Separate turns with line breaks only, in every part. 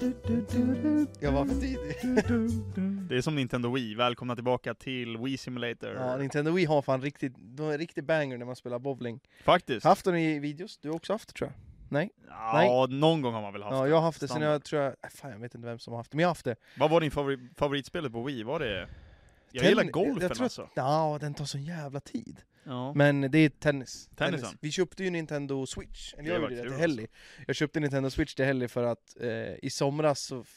Jag var för tidig.
Det är som Nintendo Wii, välkomna tillbaka till Wii Simulator.
Ja, Nintendo Wii har fan riktigt, de är riktigt banger när man spelar bowling.
Faktiskt.
Haft den i videos, du har också haft det tror jag.
Ja, någon gång har man väl haft
Ja,
det.
jag har haft det sen
Standard.
jag tror jag, äh, fan jag vet inte vem som har haft det, men jag har haft det.
Vad var din favori- favoritspelet på Wii? Var det... Jag
Tenn-
gillar golfen
jag tror att-
alltså.
Ja, den tar sån jävla tid.
Ja.
Men det är tennis.
Tennisen.
Vi köpte ju Nintendo Switch, eller
Det
jag
var alltså.
gjorde det
kul
till Helly. Jag köpte Nintendo Switch till Helly för att eh, i somras så, f-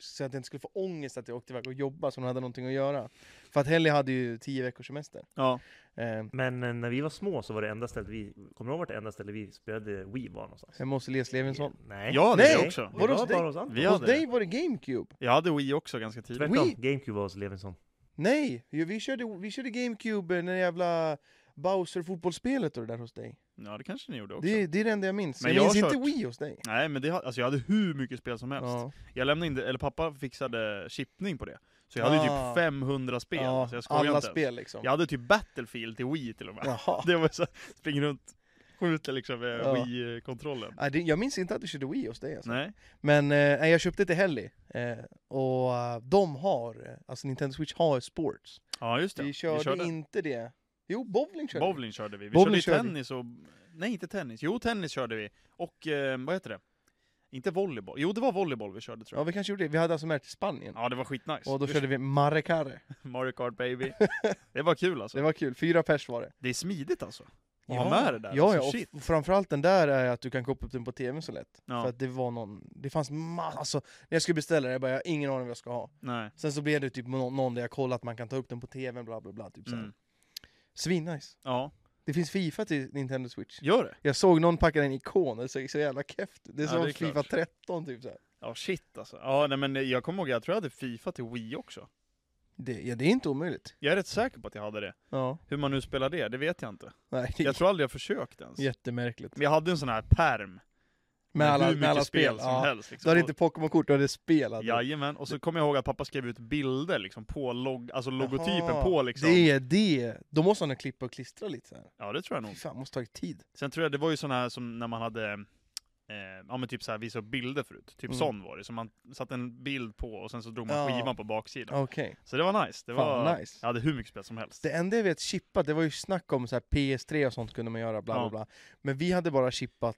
så att jag inte skulle få ångest att jag åkte iväg och jobbade så hon hade någonting att göra. För att Helly hade ju tio veckors semester.
ja.
Eh,
Men eh, när vi var små så var det enda stället vi, kommer du ihåg vart det enda stället vi spelade Wii var någonstans?
hemma hos Elias Levinson.
Nej.
Ja, det
Nej!
är det också.
Var det
hos
var
dig?
bara hos Anton.
Vi
Hos
hade
dig
det.
var det GameCube.
Jag hade Wii också ganska tidigt.
Tvärtom,
Wii?
GameCube var hos Levinson.
Nej, ju- vi körde, vi körde GameCube, eh, när det jävla Bowser-fotbollsspelet och det där hos dig.
Ja, det kanske ni gjorde också.
Det, det är det enda jag minns.
Men
jag,
jag
minns
har
inte
kört-
Wii hos dig.
Nej, men det, har- alltså jag hade hur mycket spel som helst.
Ja.
Jag lämnade in det, eller pappa fixade chippning på det. Så jag hade ju
Ah.
typ 500 spel.
Ja,
alltså jag skojar
alla
inte ens.
spel liksom.
Jag hade typ Battlefield till Wii till och med.
Jaha.
Det var så, springer runt, skjuter liksom med
Ja.
Wii-kontrollen.
Nej, det- Jag minns inte att du körde Wii hos dig alltså.
Nej.
Men eh, nej, jag köpte till Helly, eh, och eh, de har, eh, alltså Nintendo Switch har sports.
Ja just det,
Vi körde, inte det. Jo, bowling körde vi.
Bowling körde vi, vi
Bowling
körde
körde
ju
vi.
tennis och... Nej inte tennis, jo tennis körde vi. Och eh, vad heter det? Inte volleyboll, jo det var volleyboll vi körde tror
Ja,
jag.
vi kanske gjorde det. Vi hade alltså med till Spanien.
Ja det var skitnice.
Och då körde vi Maracare.
Mario Kart baby. Det var kul alltså.
Det var kul, fyra pers var det.
Det är smidigt alltså. Att ha med det där.
ja, ja,
alltså,
och
shit.
f- framförallt den där är att du kan koppla upp den på tvn så lätt.
Ja.
För att det var någon, det fanns massa, alltså, när jag skulle beställa det, jag bara, jag har ingen aning vad jag ska ha.
Nej.
Sen så blev det typ nå- någon där jag kollade att man kan ta upp den på tvn, bla bla bla. Typ så här.
Mm.
Svinnice.
Ja,
Det finns Fifa till Nintendo Switch.
gör det?
Jag såg någon packa en ikon, det såg så jävla keft ut. Det
Ja,
såg
det är
Fifa
klart.
13 typ så här.
Ja shit alltså. Ja nej men jag kommer ihåg, jag tror jag hade Fifa till Wii också.
Det, ja, det är inte omöjligt.
Jag är rätt säker på att jag hade det.
Ja.
Hur man nu spelar det, det vet jag inte.
Nej, det är
Jag tror aldrig jag försökt ens.
jättemärkligt.
Men jag hade en sån här perm.
Med alla,
hur mycket
med alla
spel,
spel.
som
ja.
helst. Liksom.
Du hade inte Pokémon-kort, du hade spel. hade du.
Jajamän, och så kommer jag ihåg att pappa skrev ut bilder liksom på log- alltså logotypen
Jaha,
på liksom.
Det är det! Då måste han ha klippa och klistra lite så här.
Ja det tror jag
Fy
nog.
fan, måste tagit tid.
Sen tror jag det var ju sån här som när man hade eh, ja men typ så här visa upp bilder förut. Typ
Mm.
sån var det. Så man satte en bild på och sen så drog man
Ja.
skivan på baksidan.
Okej.
Så det var nice. Det
Fan,
var,
vad nice.
Jag hade hur mycket spel som helst.
Det enda jag vet chippat, det var ju snack om så här PS3 och sånt kunde man göra, bla bla
Ja.
bla. Men vi hade bara chippat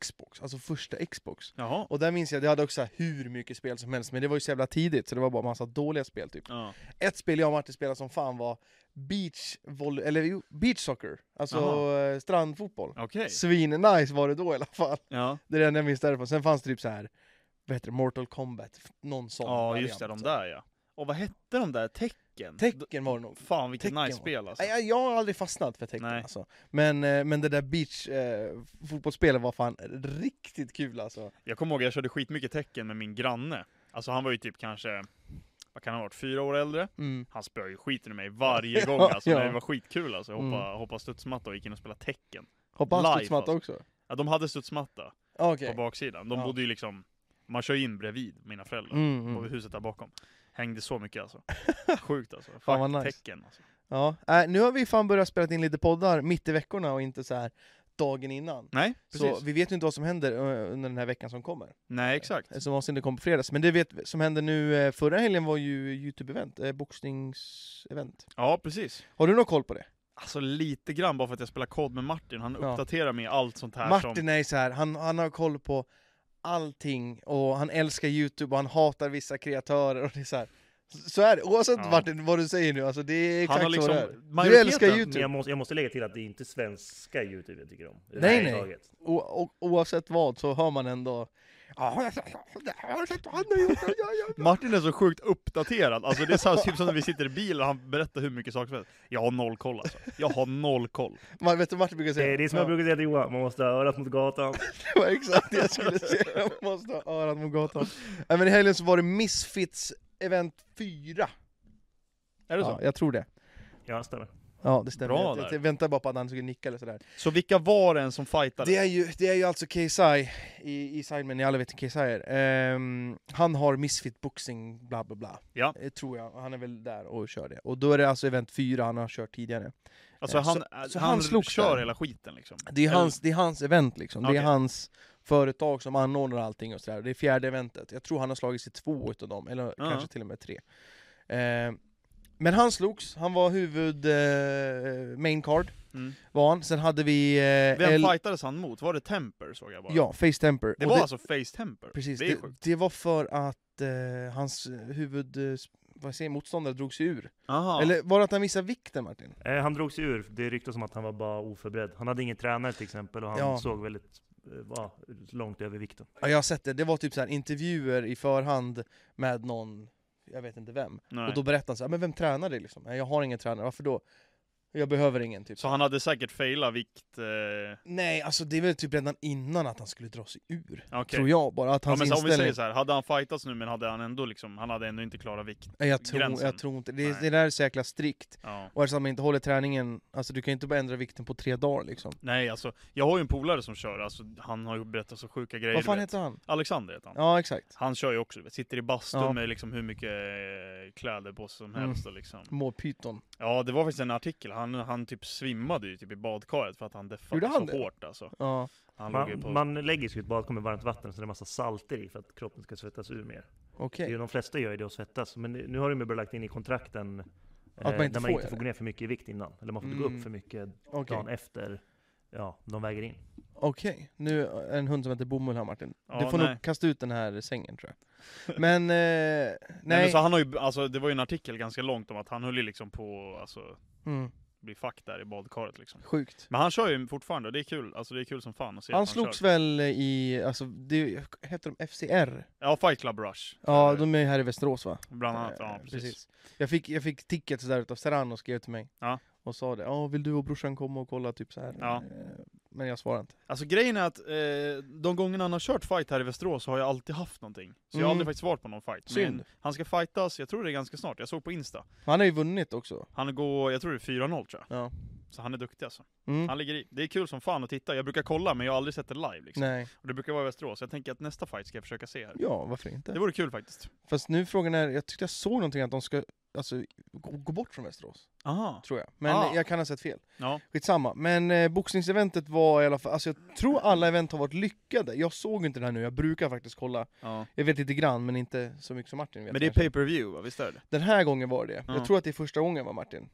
Xbox, alltså första Xbox.
Jaha.
Och där minns jag, det hade också så här hur mycket spel som helst, men det var ju så jävla tidigt så det var bara massa dåliga spel typ.
Ja.
Ett spel jag och Martin spelade som fan var beach, volley, eller jo, beach soccer, alltså
Jaha.
eh, strandfotboll.
Okej.
Svin-nice var det då i alla fall.
Ja.
Det är det enda jag minns därifrån. Sen fanns det typ så här, vad heter det, Mortal Kombat, f- någon sån
ja
variant,
just det, de
så.
där ja. Och vad hette de där tecken? D-
Tecken var det nog.
Fan vilket
Tekken
nice
var-
spel alltså.
Nej, Jag, jag har aldrig fastnat för tecken
Nej.
alltså. men, eh, men det där beach eh, fotbollsspelet var fan riktigt kul alltså.
Jag kommer ihåg jag körde skitmycket tecken med min granne. Alltså han var ju typ kanske, vad kan han ha varit, fyra år äldre?
Mm.
Han spöade ju skiten ur mig varje gång
Ja,
alltså,
ja.
men det var skitkul alltså. Jag hoppade,
Mm.
hoppade studsmatta och gick in och spelade tecken.
Hoppas
Live,
han studsmatta också?
Ja, de hade studsmatta
Ah, Okej.
på baksidan. De
Ja.
bodde ju liksom, man kör ju in bredvid mina föräldrar.
Mm,
På
mm.
huset där bakom. Hängde så mycket alltså. Sjukt alltså. Fuck
Fan, vad nice.
tecken alltså.
Ja. Äh, nu har vi fan börjat spela in lite poddar mitt i veckorna och inte så här dagen innan.
Nej, precis.
Så vi vet ju inte vad som händer eh, under den här veckan som kommer.
Nej, exakt.
Som avsnittet kom på fredags. Men det vet, som hände nu eh, förra helgen var ju Youtube-event, eh, boxningsevent.
Ja, precis.
Har du någon koll på det?
Alltså lite grann bara för att jag spelar kod med Martin. Han
Ja.
uppdaterar mig i allt sånt här
Martin
som...
är ju så här, han, han har koll på allting och han älskar Youtube och han hatar vissa kreatörer och det är så här. Så är det, oavsett
Ja.
Martin vad du säger nu, alltså det är
Han
exakt
har liksom...
så det är. Du
majoriteten-
älskar
Men
Youtube,
Typ.
jag måste, jag måste lägga till att det är inte svenska Youtube jag tycker om.
Nej, nej.
överhuvudtaget.
o, o, oavsett vad så hör man ändå Ja, jag har sett vad han har gjort, ja, ja, ja.
Martin är så sjukt uppdaterad, alltså det är så här, typ som när vi sitter i bilen och han berättar hur mycket saker som helst. Jag har noll koll alltså. Jag har noll koll.
Man vet du Martin brukar
Det
säga?
är, det är som jag
ja,
brukar säga till Johan, man måste ha örat mot gatan.
det var exakt det jag skulle säga, jag måste ha örat mot gatan. Nej men i helgen så var det Misfits event 4.
Är det så?
Ja, jag tror det.
Ja, stämmer.
Ja det stämmer.
Bra
jag,
där.
jag, jag väntar bara på att han skulle nicka eller sådär.
Så vilka var det än som fightade?
Det är ju, det är ju alltså KSI i, i Sidemen, ni alla vet vem KSI är. Ehm, han har Misfit Boxing, bla bla bla.
Ja.
Eh, Tror jag, han är väl där och kör det. Och då är det alltså event 4 han har kört tidigare.
Alltså
eh,
han,
så- så
han,
han slogs
kör
där.
hela skiten liksom.
Det är
Eller-
hans, det är hans event liksom, det
Okej.
är hans företag som anordnar allting och sådär. Det är fjärde eventet. Jag tror han har slagit sig två utav dem, eller kanske till och med tre. Eh, men han slogs, han var huvud eh, main card,
Mm.
var han. Sen hade vi... Eh,
Vem
El-
fightades han mot? Var det Temper såg jag bara?
Ja, Face Temper.
Det
Och
var alltså Face Temper?
Precis,
det är
det,
sjukt.
det var för att eh, hans huvud... Eh, s- vad säger jag, motståndare drog sig ur.
Aha.
Eller var det att han missade vikten Martin?
Eh, han drog sig ur. Det ryktas om att han var bara oförberedd. Han hade ingen tränare till exempel och han
Ja.
såg väldigt eh, var långt över vikten.
Ja, jag har sett det. Det var typ så här intervjuer i förhand med någon, jag vet inte vem.
Nej.
Och då berättade han så här, men vem tränar dig liksom? Nej, jag har ingen tränare, varför då? Jag behöver ingen typ.
Så han hade säkert failat vikt... Eh... Okej.
Nej, alltså det är väl typ redan innan att han skulle dra sig ur. Tror
Ja,
jag bara, att
men
hans
så om vi
inställning...
säger så här, hade han fightats nu men hade han ändå liksom, han hade ändå inte klarat vikt.
Nej, jag, tror,
gränsen.
jag tror inte, det,
Nej.
det där är så jäkla strikt.
Ja.
Och eftersom man inte håller träningen, alltså du kan ju inte bara ändra vikten på tre dagar liksom.
Nej alltså, jag har ju en polare som kör, alltså han har ju berättat så sjuka grejer.
Vad fan
du vet.
heter han?
Alexander heter han.
Ja, exakt.
Han kör ju också, du vet, sitter i bastun
Ja.
med liksom hur mycket eh, kläder på sig som
Mm.
helst och liksom.
Mårpyton.
Ja det var faktiskt en artikel, han, han typ svimmade ju typ i badkaret för att han
Gjorde
deffade
han
så
det?
hårt alltså.
Ja.
Han låg ju på...
Man, man lägger sig i ett badkar med varmt vatten så det är en massa salter i för att kroppen ska svettas ur mer.
Okej.
Det är ju De flesta gör ju det och svettas, men nu har de ju bara lagt in i kontrakten att
man inte
där man
får
inte
göra
får gå ner för mycket i vikt innan. Eller man får inte gå
Mm.
upp för mycket
Okej.
dagen efter ja, de väger in.
Okej, nu är det en hund som heter Bomull här Martin.
Ja,
du får
nej.
nog kasta ut den här sängen tror jag. Men, eh, nej.
Nej. men så han har ju, alltså det var ju en artikel ganska långt om att han höll ju liksom på, alltså
mm,
bli fuck där i badkaret liksom.
sjukt.
Men han kör ju fortfarande och det är kul, alltså det är kul som fan att se
Han
att
slogs
kör.
väl i, alltså, det, heter de FCR?
Ja, Fight Club Rush.
Ja,
Eh,
de är ju här i Västerås va?
Bland annat, ja
Eh,
precis.
Jag fick, jag fick tickets där utav Serrano och skrev till mig.
Ja.
Och sa det, ja vill du och brorsan komma och kolla typ så här.
Ja.
Eh, Men jag svarade inte.
Alltså grejen är att eh, de gångerna han har kört fight här i Västerås så har jag alltid haft någonting. Så jag har
Mm.
aldrig faktiskt varit på någon fight.
Synd.
Men han ska fightas, jag tror det är ganska snart, jag såg på Insta.
Han har ju vunnit också.
Han går, jag tror det är 4-0 tror jag.
Ja.
Så han är duktig alltså.
Mm.
Han ligger i. Det är kul som fan att titta, jag brukar kolla men jag har aldrig sett det live liksom.
Nej.
Och det brukar vara i Västerås, jag tänker att nästa fight ska jag försöka se här.
Ja, varför inte?
Det vore kul faktiskt.
Fast nu frågan är, jag tyckte jag såg någonting att de ska, alltså, gå, gå bort från Västerås.
Aha.
Tror jag. Men
Ah.
jag kan ha sett fel.
Ja.
Skitsamma. Men eh, boxningseventet var i alla fall, alltså jag tror alla event har varit lyckade. Jag såg inte det här nu, jag brukar faktiskt kolla.
ja.
Jag vet lite grann, men inte så mycket som Martin vet.
Men det är
kanske.
pay per view va, visst är det?
Den här gången var det.
Ja.
Jag tror att det är första gången va Martin?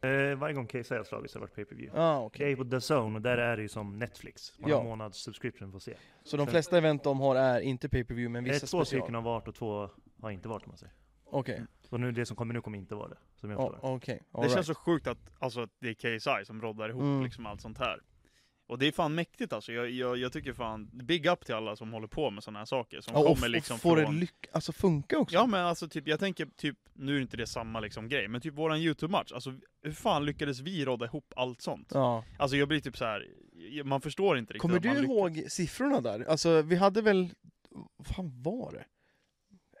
Eh, varje gång Case har slagits har det varit pay-per-view.
Ja, ah, okej.
Jag är på The Zone och där är det ju som Netflix. Man
Ja.
har en månads subscription för att se.
Så de flesta event de har är inte pay-per-view men
Eh,
vissa
Två
special?
stycken har varit och två har inte varit om man säger.
Okej,
Och nu, det som kommer nu kommer inte vara det. Som jag
Ja,
förstår.
okej.
Det
All
känns
right.
så sjukt att, alltså, att det är KSI som roddar ihop
Mm.
liksom allt sånt här. Och det är fan mäktigt alltså, jag, jag, jag tycker fan, big up till alla som håller på med såna här saker. Som
Ja, och,
kommer
f-
liksom
och får
från...
det lyck- alltså funka också?
Ja men alltså typ, jag tänker typ, nu är inte det samma liksom grej, men typ våran YouTube-match, alltså hur fan lyckades vi rodda ihop allt sånt?
Ja.
Alltså jag blir typ så här. jag- man förstår inte riktigt
Kommer
att man
du
lyckas.
ihåg siffrorna där? Alltså vi hade väl, vad fan var det?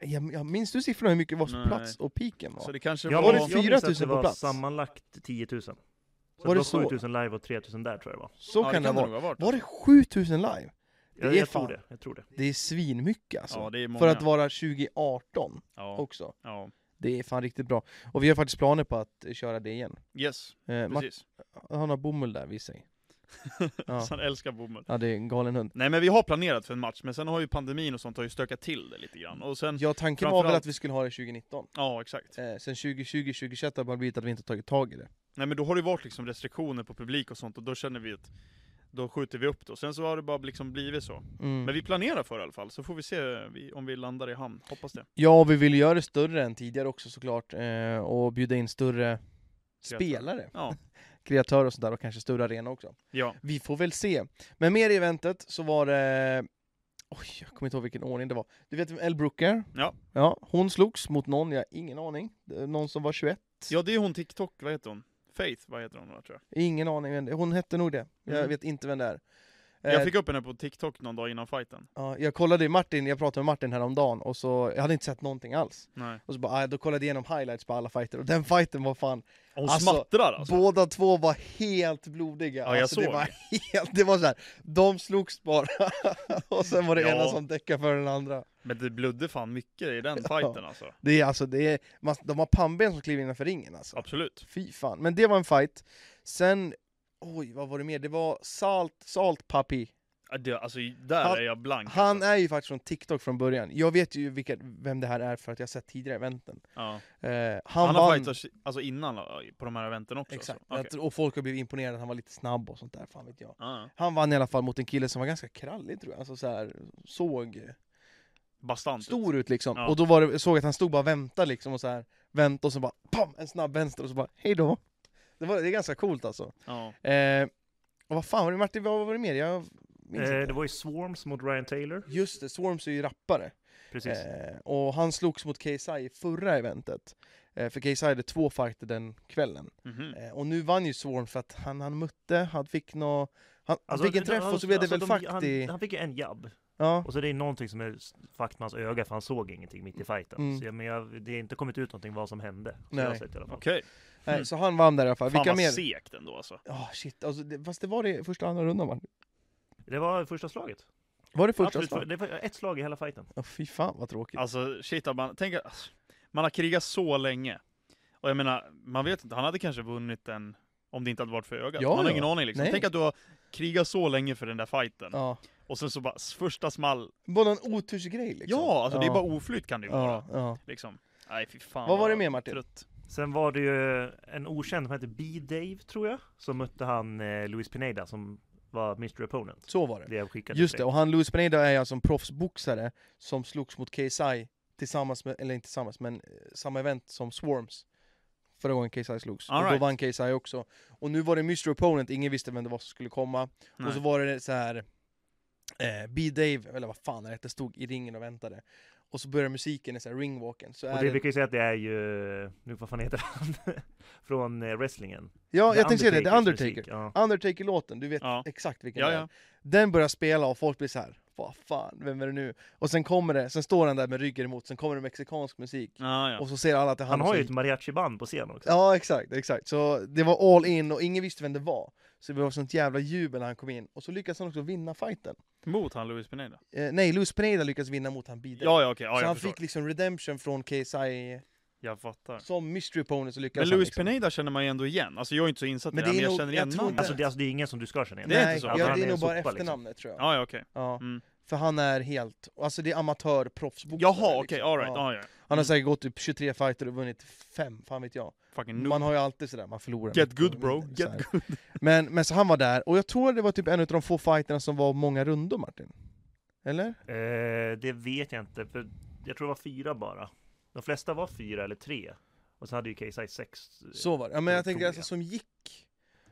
Jag, jag minns du siffrorna hur mycket var
Nej.
som plats och piken var?
Så det kanske
Jag
Var det
minns-
ja,
jag
4
minns att
000 på
Det var
plats?
sammanlagt 10 000. Så att
det
det var
så?
7 000 live och 3 000 där tror jag det var.
Så kan det,
nog
vara.
ha varit.
Var det 7000 live? Det
Jag,
är
jag, tror
fan-
det, jag tror det.
Det är svinmycket alltså.
Ja det är många.
För att vara 2018
ja,
också.
ja.
Det är fan riktigt bra. Och vi har faktiskt planer på att eh, köra det igen.
Yes,
Eh, Mart-
precis.
han har bomull där vid sig. Ja.
Så han älskar bomull.
ja, det är en galen hund.
Nej men vi har planerat för en match, men sen har ju pandemin och sånt har ju stökat till det lite grann. Och sen, ja,
Ja, tanken var väl
Framförallt-
att vi skulle ha det 2019.
exakt.
Eh, sen 2020, 2021 har det bara blivit att vi inte har tagit tag i det.
Nej men då har det ju varit liksom restriktioner på publik och sånt, och då känner vi att då skjuter vi upp det. Och sen så har det bara liksom blivit så.
Mm.
Men vi planerar för det i alla fall, så får vi se eh, vi- om vi landar i hamn. Hoppas det.
Ja, och vi vill göra det större än tidigare också såklart. Eh, och bjuda in större spelare,
Ja.
kreatörer och sådär och kanske större arena också.
ja.
Vi får väl se. Men mer i eventet så var det... Oj, jag kommer inte ihåg vilken ordning det var. Du vet vem Elle Brooker?
Ja.
ja. Hon slogs mot någon, jag har ingen aning. Det är Någon som var 21.
Ja det är hon TikTok, vad heter hon? Faith, vad heter hon då, tror
Ingen aning. vem det- Hon hette nog det. Jag
Mm.
vet inte vem det är. Eh,
jag? Jag fick upp henne på TikTok någon dag innan fighten.
ja, jag kollade Martin, jag pratade med Martin häromdagen och så, jag hade inte sett någonting alls.
Nej.
Och så bara, ah, då kollade jag igenom highlights på alla fighter och den fighten var fan,
Hon
Alltså,
smattrar alltså.
båda två var helt blodiga.
Ja, jag
alltså, det
såg
var helt, det var så här, de slogs bara. och sen var det
Ja.
ena som däckade för den andra.
Men det blödde fan mycket i den fighten alltså.
Det är alltså, det är, man, de har pannben som kliver innanför ringen alltså.
Absolut.
Fy fan. Men det var en fight. Sen, oj vad var det mer? Det var Salt, Salt Papi
Ja, det, alltså, där
Han-
är jag blank.
Han
alltså.
är ju faktiskt från TikTok från början. Jag vet ju vilka, vem det här är för att jag har sett tidigare eventen.
ja.
Eh, han,
han har
vann...
fightats alltså, innan på de här eventen också?
Exakt.
Alltså. Okej.
Jag tror- Och folk har blivit imponerade, han var lite snabb och sånt där, fan vet jag.
Ja.
Han vann i alla fall mot en kille som var ganska krallig tror jag, alltså så här, såg
Bastant. ut.
stor ut liksom.
Ja.
Och då var det, såg jag att han stod bara och väntade liksom, och så här, väntade och så bara pam, en snabb vänster och så bara hej då. Det, var, det är ganska coolt alltså.
Ja.
Eh, och vad fan var det Martin, vad var det mer? Jag minns
Eh,
inte.
det var ju Swarms mot Ryan Taylor.
Just det, Swarms är ju rappare.
Precis.
Eh, och han slogs mot KSI i förra eventet. Eh, för KSI hade två fighter den kvällen.
Mhm.
Mm.
Eh, och nu vann ju Swarm för att han, han mötte, han fick nå... Han, han fick en
det-
träff och så blev det
alltså,
väl
de-
fakt i...
han, han fick ju en jabb.
Ja,
Och så det är någonting som är s- fakt med hans öga, för han såg ingenting mitt i fighten.
Mm.
Så jag, men jag, det har inte kommit ut någonting vad som hände. Så
Nej.
jag har sett i alla fall.
Okej.
nej,
Mm.
så han vann där i alla fall.
Fan
Vilka
vad
mer?
segt ändå alltså.
Ja, shit. Alltså, det, fast det var det första och andra rundan va?
Det var första slaget.
Var det första
Absolut,
slaget?
Det var ett slag i hela fighten.
Ja, fy fan vad tråkigt.
Alltså shit, att man, tänk, att- alltså, man har krigat så länge. Och jag menar, man vet inte, han hade kanske vunnit den om det inte hade varit för ögat.
Ja,
man har
ja.
ingen aning liksom.
Nej.
Tänk att du har krigat så länge för den där fighten.
Ja.
Och sen så bara, s- första small.
Bara en otursgrej liksom.
Ja, alltså det är bara oflyt kan det ju
Ja,
vara.
ja.
Liksom. Nej fy fan.
Vad var det mer Martin?
Trött.
Sen var det ju en okänd som hette B-Dave, tror jag, som mötte han eh, Luis Pineda som var Mr Opponent.
Så var det.
Det jag skickade
Just
till
det,
dig.
och han Luis Pineda är alltså en proffsboxare som slogs mot KSI tillsammans med, eller inte tillsammans, men eh, samma event som Swarms förra gången KSI slogs.
All
och då
right.
vann KSI också. Och nu var det Mr Opponent, ingen visste vem det var som skulle komma.
Nej.
Och så var det så här eh, B-Dave, eller vad fan det hette, stod i ringen och väntade. Och så börjar musiken i så här ringwalken. Så är
Och det,
det,
vi kan ju säga att det är ju, nu vad fan heter han? Från eh, wrestlingen.
ja,
The
jag tänkte säga det, det är
Undertakers
Undertaker.
musik, Ja.
Undertaker-låten, du vet
Ja.
exakt vilken
Ja,
det är.
ja.
Den börjar spela och folk blir så här. Vad fan, vem är det nu? Och sen kommer det, sen står han där med ryggen emot, sen kommer det mexikansk musik.
Ja, ja.
Och så ser alla att det är
Han har
som-
ju ett mariachi-band på scen också.
Ja exakt, exakt. Så det var all in och ingen visste vem det var. Så det var sånt jävla jubel när han kom in. Och så lyckas han också vinna fighten.
Mot han Luis Pineda?
Eh, nej, Luis Pineda lyckas vinna mot han Biden.
Ja, ja okej, ja,
så
jag
han
förstår.
fick liksom redemption från KSI
Jag fattar.
som mystery opponent så lyckas
Men
han
Luis
liksom.
Pineda känner man ju ändå igen. Alltså jag är inte så insatt i
Men
det här,
det är
men jag
nog-
känner
jag
igen
tror
namnet.
inte-
Alltså det, alltså det är ingen som du ska känna igen.
Det är inte
Nej,
så.
Ja,
Alltså,
det
han
är
är
nog bara
sopa, liksom.
efternamnet tror jag.
Ja, ja okej.
Ja.
Mm.
För han är helt, alltså det är amatör proffsboxare.
Jaha, okej,
liksom.
alright.
Ja.
Ja. Ja,
Han har
Mm.
säkert gått typ 23 fighter och vunnit 5, fan vet jag.
Fucking noob.
Man har ju alltid sådär, man förlorar.
Mm. Get
mycket
good,
och
bro.
vinner,
Get
så här. Men, men så han var där, och jag tror det var typ en av de få fighterna som var många rundor Martin. Eller?
Eh, det vet jag inte, för jag tror det var fyra bara. De flesta var fyra eller tre. Och så hade ju KSI sex.
Så var det. Ja, men jag
Jag tror
tänker alltså
det.
som gick.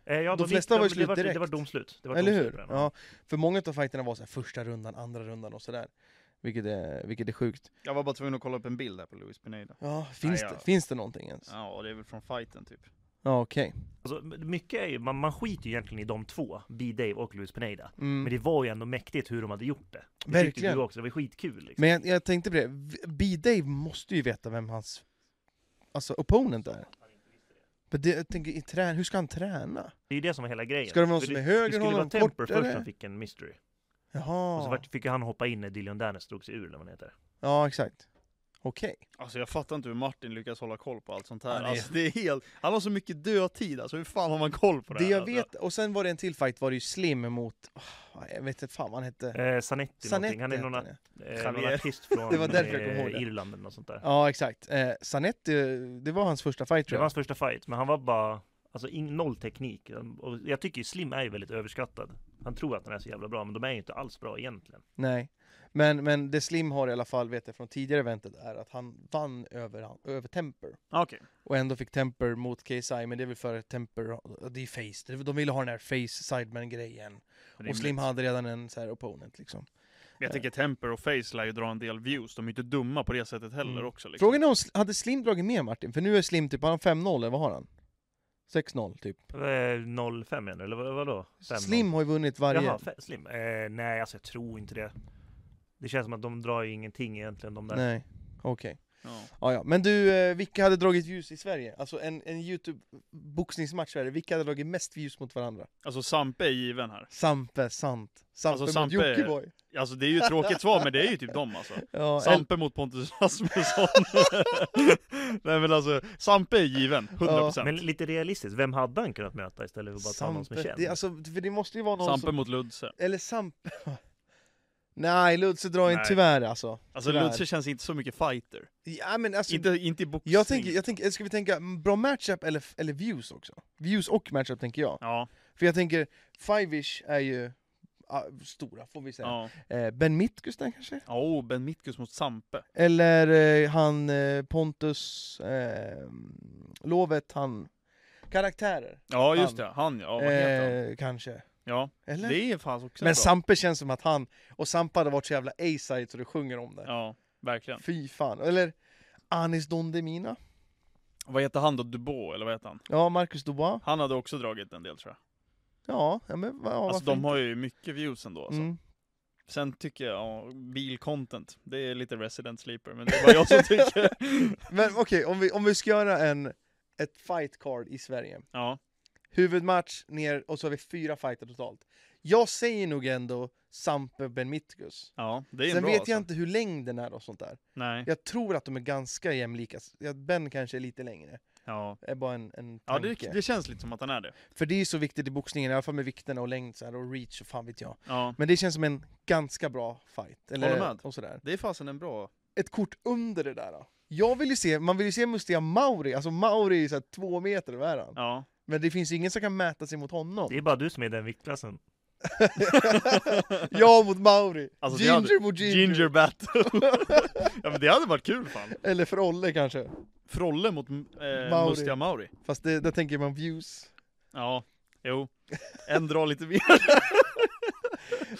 Eh, ja,
de
gick-
flesta var ju slut
det
direkt.
Det var domslut. Det var
Eller
domslut på
hur?
den.
Ja, för många av fighterna var så här första rundan, andra rundan och sådär. Vilket är, vilket är sjukt.
Jag var bara tvungen att kolla upp en bild här på Luis Pineda.
Ja, finns,
Nej,
det,
jag-
finns det någonting ens? Ja,
Ja, och det är väl från fighten typ.
okej.
Alltså, mycket är ju, man, man skiter ju egentligen i de två, B-Dave och Luis Pineda.
Mm.
Men det var ju ändå mäktigt hur de hade gjort det. Det tyckte
Verkligen.
du också, det var skitkul liksom.
Men jag, jag tänkte på det, V- B-Dave måste ju veta vem hans alltså opponent är. Men det, jag tänker, i trän, hur ska han träna?
Det är ju det som var hela grejen.
Ska det vara någon
För
som
det-
är
det
höger,
skulle vara
någon
Temper först
kortare?
som fick en mystery. Och så
Jaha,
vart- fick ju han hoppa in när Dylan Dennis drog sig ur, eller vad han heter.
ja exakt. Okej.
Alltså jag fattar inte hur Martin lyckas hålla koll på allt sånt här.
Han är-
Alltså det är helt... Han har så mycket dödtid alltså, hur fan har man koll på det,
Det
här? Alltså,
jag vet, och sen var det en till fight var det ju Slim mot, åh, jag vet inte fan vad han hette.
Eh, Sanetti,
Zanetti
någonting. Han är
hette
någon,
han, ja.
eh, någon
Javier.
artist från
Det var därför jag kom ihåg det.
eh, Irland eller något sånt där.
Ja exakt. Eh, Zanetti, det var hans första fight
Det
tror
var
jag.
hans första fight, men han var bara Alltså in, noll teknik. Och jag tycker ju Slim är ju väldigt överskattad. Han tror att han är så jävla bra, men de är ju inte alls bra egentligen.
Nej. Men, men det Slim har i alla fall, vet jag från tidigare eventet, är att han vann över, han- över Temper.
Okej.
Och ändå fick Temper mot KSI, men det är väl för att Temper, det är face, de ville ha den här face sideman-grejen. Och
Rimligt.
Slim hade redan en så här opponent liksom.
Men Jag tänker Temper och Face lär ju dra en del views, de är ju inte dumma på det sättet heller
Mm.
också liksom.
Frågan är om, Sl- hade Slim dragit med Martin? För nu är Slim typ, har han 5-0 eller vad har han? 6-0 typ.
Eh, 05 menar du? Eller vad- vadå? 5-0?
Slim har ju vunnit varje.
Jaha, fe- Slim. Eh, nej, alltså jag tror inte det. Det känns som att de drar ju ingenting egentligen de där.
Nej, okej.
Ja.
Ja, ja. Men du, eh, vilka hade dragit views i Sverige? Alltså en, en Youtube-boxningsmatch Sverige, vilka hade dragit mest views mot varandra?
Alltså Sampe är given här.
Sampe, sant. Sampe
Alltså,
mot
Sampe-
Jockiboi.
Alltså det är ju ett tråkigt svar, men det är ju typ dem alltså.
Ja, el-
Sampe mot Pontus Rasmusson. Nej men alltså, Sampe är given, 100%.
Men lite realistiskt, vem hade han kunnat möta istället för att bara ta någon som är
Sampe,
känd?
det, är alltså, för det måste ju vara någon
Sampe
som...
mot Ludse.
Eller Sampe... Nej, Ludse drar inte
Nej.
tyvärr alltså.
Alltså
Tyvärr.
Ludse känns inte så mycket fighter.
Ja, men alltså
Inte, inte i boxning.
jag tänker, jag tänker, ska vi tänka mm, bra matchup eller, eller views också? Views och matchup tänker jag.
Ja,
För jag tänker, Five-ish är ju ah, stora, får vi säga.
ja.
Eh, ben Mitkusten kanske?
Oh, Ben Mitkus mot Sampe.
Eller eh, han eh, Pontus, eh, Lovet, han... Karaktärer,
Ja just
Han.
det, han ja, vad heter han?
eh, kanske.
Ja,
Eller?
det är fan också
Men
bra.
Sampe känns som att han, och Sampe hade varit så jävla A-side så du sjunger om det.
Ja, verkligen.
Fy fan. Eller Anis Don Demina.
Vad heter han då? Dubois, eller vad heter han?
Ja, Marcus Dubois.
Han hade också dragit en del tror jag.
Ja, ja men va- ja,
alltså
varför
de
inte?
har ju mycket views ändå alltså.
Mm.
Sen tycker jag, ja, bilcontent, det är lite resident sleeper, men det är bara jag som tycker.
Men okej, om, vi, om vi ska göra en, ett fight card i Sverige.
Ja,
Huvudmatch ner och så har vi fyra fighter totalt. Jag säger nog ändå Sampe Benmitkus.
ja, det är
Sen
bra
vet
alltså.
jag inte hur längden är och sånt där.
Nej,
Jag tror att de är ganska jämlika. Jag- Ben kanske är lite längre.
ja.
Det är bara en, en
Ja,
tanke.
det, det känns lite som att han är det.
För det är ju så viktigt i boxningen, i alla fall med vikterna och längd så här, och reach och fan vet jag.
Ja.
Men det känns som en ganska bra fight. Eller,
Håller med.
Och sådär.
Det är fasen en bra...
Ett kort under det där då. Jag vill ju se, man vill ju se Mustia Mauri, alltså Mauri är ju såhär två meter, vad är han?
Ja.
Men det finns ju ingen som kan mäta sig mot honom.
Det är bara du som är i den viktklassen.
jag mot Mauri!
Alltså, det
ginger
hade-
mot ginger.
Ginger battle! ja men det hade varit kul fan!
Eller för Olle kanske.
Frolle mot eh,
Mauri.
Mustiga Mauri.
Fast det, där tänker man views.
Ja, jo. En drar lite mer.
Ja,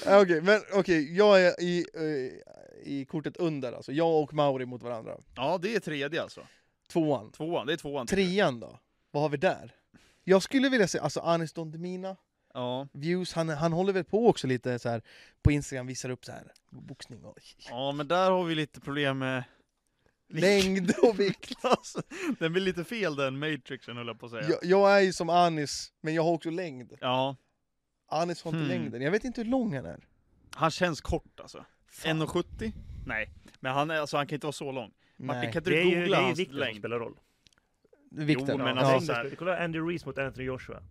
Eh, Okej, men okej, jag är i, eh, i kortet under alltså. Jag och Mauri mot varandra.
Ja, det är tredje alltså.
Tvåan.
Tvåan, det är tvåan.
Trean då? Vad har vi där? Jag skulle vilja se, alltså Anis Don Demina,
Ja.
views, han, han håller väl på också lite så här på Instagram, visar upp så här boxning och
ja, men där har vi lite problem med...
längd och vikt.
Alltså, den blir lite fel den matrixen höll jag på att säga. Ja.
Jag, jag är ju som Anis, men jag har också längd. Anis har inte
Hmm.
längden, jag vet inte hur lång han är.
han känns kort alltså.
Fan,
1,70? Nej, men han, är, alltså, han kan inte vara så lång. Martin,
nej.
kan inte
Det
du
är ju det
googla
är ju
hans
vikten som
längd?
spelar roll.
Vikten.
Jo, men
ja.
alltså-
ja.
så här-
Längden- Kolla Andrew Reese mot Anthony Joshua.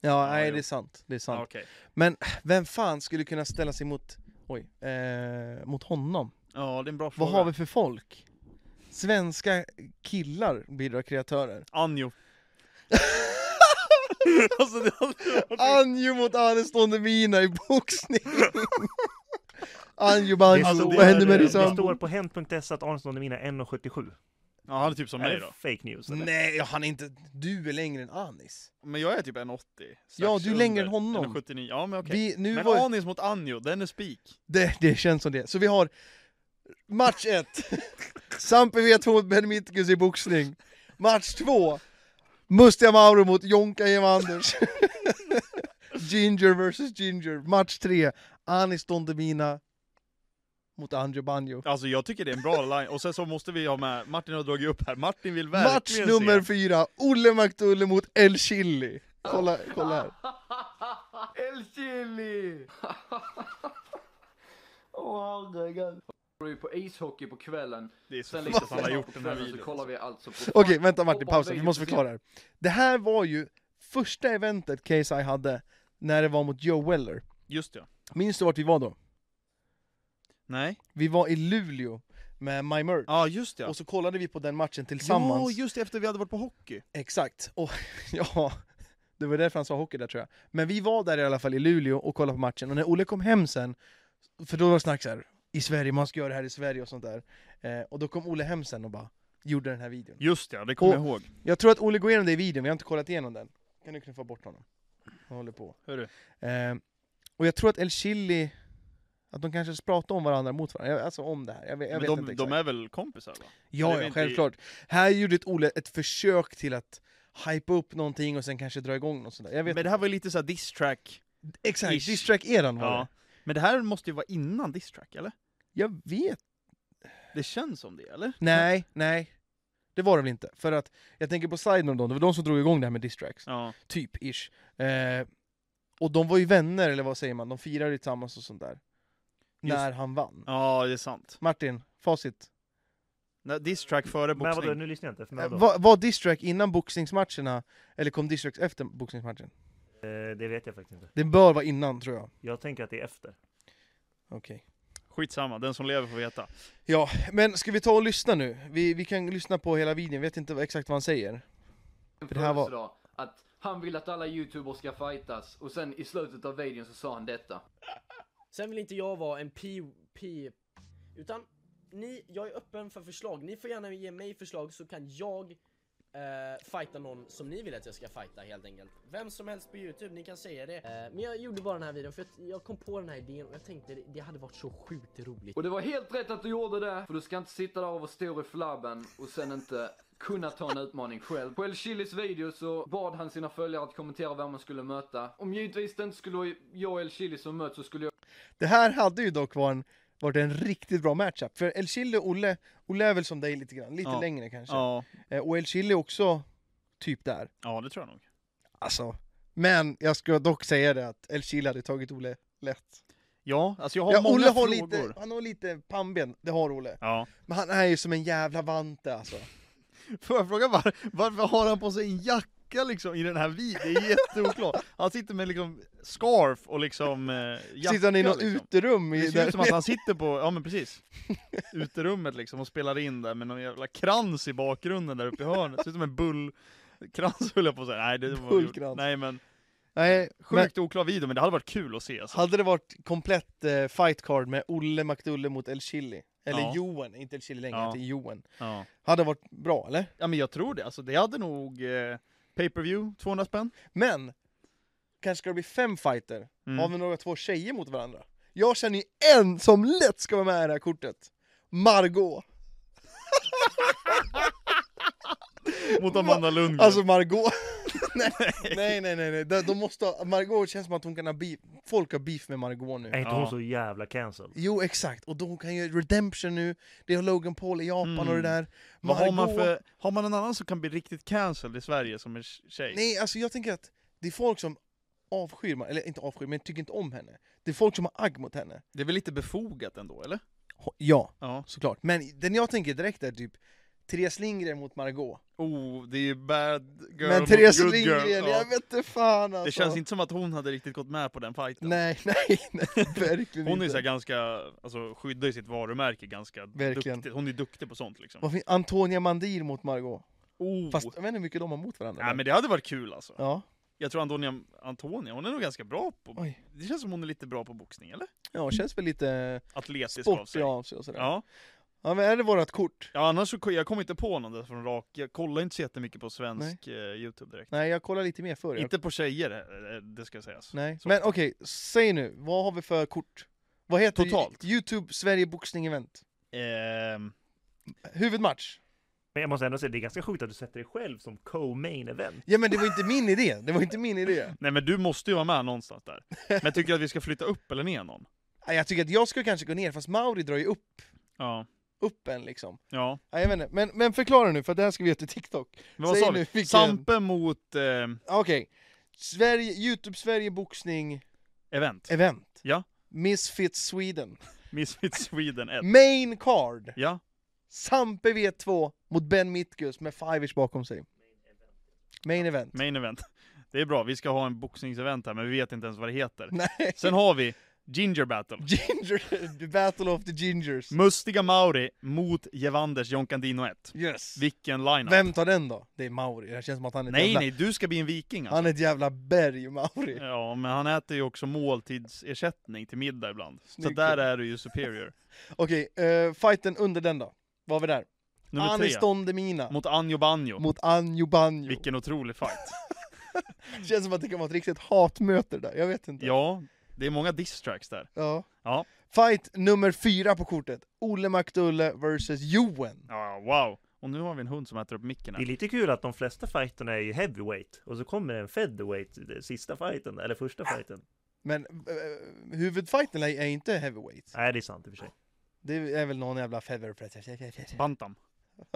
ja,
Ja,
nej
jo.
det är sant. Det är sant.
Ja, okej.
Vem fan skulle kunna ställa sig mot, oj, eh, mot honom?
ja, det är en bra
Vad
fråga.
har vi för folk? Svenska killar bidrar kreatörer.
Anjo. alltså, det hade varit...
Anjo mot Anestående Mina i boxning! Anjo
Det,
Banjo,
står,
alltså, vad händer med
det
din
står
sambo?
på hent.se att Arnson Demina är 1,77.
Ja, han är typ som
Är
mig
det
då.
fake news eller?
Nej, han är inte... Du är längre än Anis.
Men jag är typ 1,80. strax
Ja, du är längre
under.
än honom.
1,79. Ja, men okej.
Vi, nu
Men
var,
Anis mot Anjo, den är spik.
det, det känns som det. Så vi har match 1. Sampe V2 mot Ben Mitkus i boxning. Match 2. Mustiga Mauro mot Jonka Evanders. Ginger versus Ginger. Match 3. Anis Don Demina mot Anjo Banjo.
Alltså jag tycker det är en bra line, och sen så måste vi ha med, Martin har dragit upp här, Martin vill
Match
verkligen
nummer
se.
fyra, Olle McDulle mot El Chili. Kolla, kolla här.
El Chili! Åh herregud. Vi är på ishockey på kvällen.
Det är så
Sen
sjukt
lite
att han har gjort den här
kvällen så
videon.
kollar vi alltså på...
Okej, vänta Martin, pausa, vi måste förklara. här. Det här var ju första eventet KSI hade när det var mot Joe Weller.
Just ja.
Minns du vart vi var då?
Nej?
Vi var i Luleå med My Merch.
Ja just ja.
Och så kollade vi på den matchen tillsammans.
ja, just det, efter vi hade varit på hockey.
Exakt. Och ja, det var därför han sa hockey där tror jag. Men vi var där i alla fall i Luleå och kollade på matchen. Och när Olle kom hem sen, för då var det snack så här, i Sverige, man ska göra det här i Sverige och sånt där. Eh, och då kom Olle hem sen och bara gjorde den här videon.
Just ja, det kommer
Och-
jag ihåg.
Jag tror att Olle går igenom det i videon, vi har inte kollat igenom den. Kan du knuffa bort honom? Han håller på.
Hörru.
Eh, och jag tror att El Chili, att de kanske pratar om varandra mot varandra, Jag- alltså om det här. Jag vet, jag
Men
vet
de,
inte
de
exakt.
är väl kompisar va? eller
Ja,
vi
ja,
inte-
självklart. Här gjorde ett Olle ett försök till att hypa upp någonting och sen kanske dra igång något sånt där. Jag vet
Men det här var ju lite såhär diss-track.
Exakt,
Ish.
distrack eran var
Ja.
det.
Men det här måste ju vara innan diss-track, eller?
Jag vet...
Det känns som det, eller?
Nej, nej. Det var det väl inte. För att jag tänker på Sidenon då, det var de som drog igång det här med distracks.
Ja.
Typ, ish. Eh, och de var ju vänner, eller vad säger man? De firade ju tillsammans och sånt där. När han vann.
Ja, det är sant.
Martin, facit.
Nej, Diss track före
Men vadå,
boxning.
nu lyssnar jag inte. För
Eh,
mig då.
var, var distrack innan boxningsmatcherna, eller kom distracks efter boxningsmatchen?
Eh, det vet jag faktiskt inte.
Det bör vara innan, tror jag.
Jag tänker att det är efter.
Okej.
Skitsamma, den som lever får veta.
Ja, men ska vi ta och lyssna nu? Vi, vi kan lyssna på hela videon, vet inte exakt vad han säger. För det här var-
födelsedag, Att han vill att alla youtubers ska fightas och sen i slutet av videon så sa han detta.
Sen vill inte jag vara en P... P utan ni, jag är öppen för förslag. Ni får gärna ge mig förslag så kan jag eh, fighta någon som ni vill att jag ska fighta helt enkelt. Vem som helst på Youtube, ni kan säga det. Eh, men jag gjorde bara den här videon för att jag kom på den här idén och jag tänkte det, det hade varit så sjukt roligt.
Och det var helt rätt att du gjorde det. För du ska inte sitta där och vara stor i flabben och sen inte kunna ta en utmaning själv. På El Chilis video så bad han sina följare att kommentera vem man skulle möta. Om givetvis det inte skulle vara jag och El Chili som möts så skulle jag
Det här hade ju dock varit en, varit en riktigt bra matchup, för El Chile och Olle, Olle är väl som dig lite grann, lite
Ja.
längre kanske.
Ja.
Eh, Och El Chile är också typ där.
ja, det tror jag nog.
Alltså, men jag ska dock säga det att El Chile hade tagit Olle lätt.
Ja, alltså jag har
Ja,
många
Olle har
frågor.
lite, han har lite pannben, det har Olle.
Ja.
Men han är ju som en jävla vante alltså.
Får jag fråga var, varför har han på sig en jacka liksom i den här videon? Det är jätteoklart. Han sitter med liksom scarf och liksom eh, jacka.
Sitter han i något
liksom.
uterum? I
Det ser
där,
ut som att han sitter på, ja men precis, uterummet liksom och spelar in där med någon jävla krans i bakgrunden där uppe i hörnet. Det ser ut som en bullkrans höll jag på att säga. Nej, det var
Bullkrans.
Nej men,
Nej, men
sjukt oklar video men det hade varit kul att se alltså.
hade det varit komplett eh, fight card med Olle McDulle mot El Chili, eller
Ja.
Johan, inte El Chili längre,
Ja.
utan Johan.
Ja.
Hade det varit bra eller?
ja men jag tror det, alltså det hade nog eh, pay-per-view 200 spänn.
Men, kanske ska det bli fem fighter?
Mm.
Har vi några två tjejer mot varandra? Jag känner ju en som lätt ska vara med i det här kortet! Margot!
Mot Amanda Lundgren.
Alltså Margot! nej, nej, nej, nej, nej. De, de måste ha, Margot känns som att hon kan ha beef, folk har beef med Margot
Är
nu.
inte
Ja.
hon så jävla cancelled?
Jo, exakt. Och då kan ju Redemption nu, det har Logan Paul i Japan och det
Mm.
där.
Vad har man för, har man en annan som kan bli riktigt cancelled i Sverige som en tjej?
Nej, alltså jag tänker att det är folk som avskyr, Mar- eller inte avskyr, men tycker inte om henne. Det är folk som har agg mot henne.
Det är väl lite befogat ändå eller?
Ja,
Ja.
såklart. Men den jag tänker direkt är typ Therese Lindgren mot Margot.
Oh, det är bad girl
men
mot
Therese
good girl.
Lindgren,
Ja.
jag vet inte fan alltså.
Det känns inte som att hon hade riktigt gått med på den fighten.
Nej, nej, nej verkligen
Hon är ju
inte.
så här ganska, alltså skyddar ju sitt varumärke ganska
Verkligen.
duktigt. Hon är duktig på sånt liksom.
Vad finns Antonia Mandir mot Margot.
Oh.
Fast jag vet inte hur mycket de har mot varandra.
Nej men det hade varit kul alltså.
Ja,
Jag tror Antonia, Antonia, hon är nog ganska bra på...
oj.
Det känns som hon är lite bra på boxning eller?
Ja, känns väl lite
Atletisk av
sportig
sig.
av sig och sådär. Ja.
Ja.
men är det vårat kort?
ja, annars så jag kommer inte på någon där från rak. Jag kollar inte så jättemycket på svensk eh, Youtube direkt.
Nej, jag kollar lite mer förr. Jag...
Inte på tjejer, eh, det ska sägas.
Nej,
Så.
men okej, säg nu, vad har vi för kort? Vad heter
Totalt.
Youtube Sverige Boxning Event?
Ehm,
Huvudmatch?
Men jag måste ändå säga, det är ganska sjukt att du sätter dig själv som co-main event.
Ja men det var inte min idé, det var inte min idé.
nej men du måste ju vara med någonstans där. Men jag tycker att vi ska flytta upp eller ner någon.
Nej, Jag tycker att jag ska kanske gå ner, fast Mauri drar ju upp,
Ja.
upp en liksom.
Ja.
Nej, jag vet inte. Men, men förklara nu, för det här ska vi göra till TikTok.
Men vad
Säg
sa
nu
vi?
vilken-
Sampe mot eh,
Okej, Sverige, Youtube Sverige Boxning
event.
Event.
Ja.
Misfits Sweden.
Misfits Sweden 1.
Main card!
Ja.
Sampe V2 mot Ben Mitkus med Fivers bakom sig. Main event.
Main event. Det är bra, vi ska ha en boxningsevent här men vi vet inte ens vad det heter.
Nej.
Sen har vi Ginger Battle.
Ginger, the battle of the
Mm.
gingers.
Mustiga Mauri mot Jevanders John Candino 1.
Yes.
Vilken line-up.
Vem tar den då? Det är Mauri, det känns som att han är ett
Nej
jävla,
nej, du ska bli en viking alltså.
Han är ett jävla berg, Mauri.
Ja, men han äter ju också måltidsersättning till middag ibland. Så
Snyggt.
där är du ju superior.
Okej, eh, fighten under den då. Vad har vi där?
Nummer tre.
Aniston Demina
Mot Anjo Banjo.
mot Anjo Banjo.
Vilken otrolig fight.
Känns som att det kan vara ett riktigt hatmöte det där, jag vet inte.
Ja, det är många distracks där.
Ja.
Ja.
Fight nummer fyra på kortet. Olle McDulle vs Johan.
Ja, wow. Och nu har vi en hund som äter upp micken
Det är
här.
lite kul att de flesta fighterna är ju heavyweight och så kommer en featherweight i den sista fighten, eller första fighten.
Men eh, huvudfighten är är inte heavyweight.
Nej, det är sant i och för sig.
Det är väl någon jävla feather
Bantam.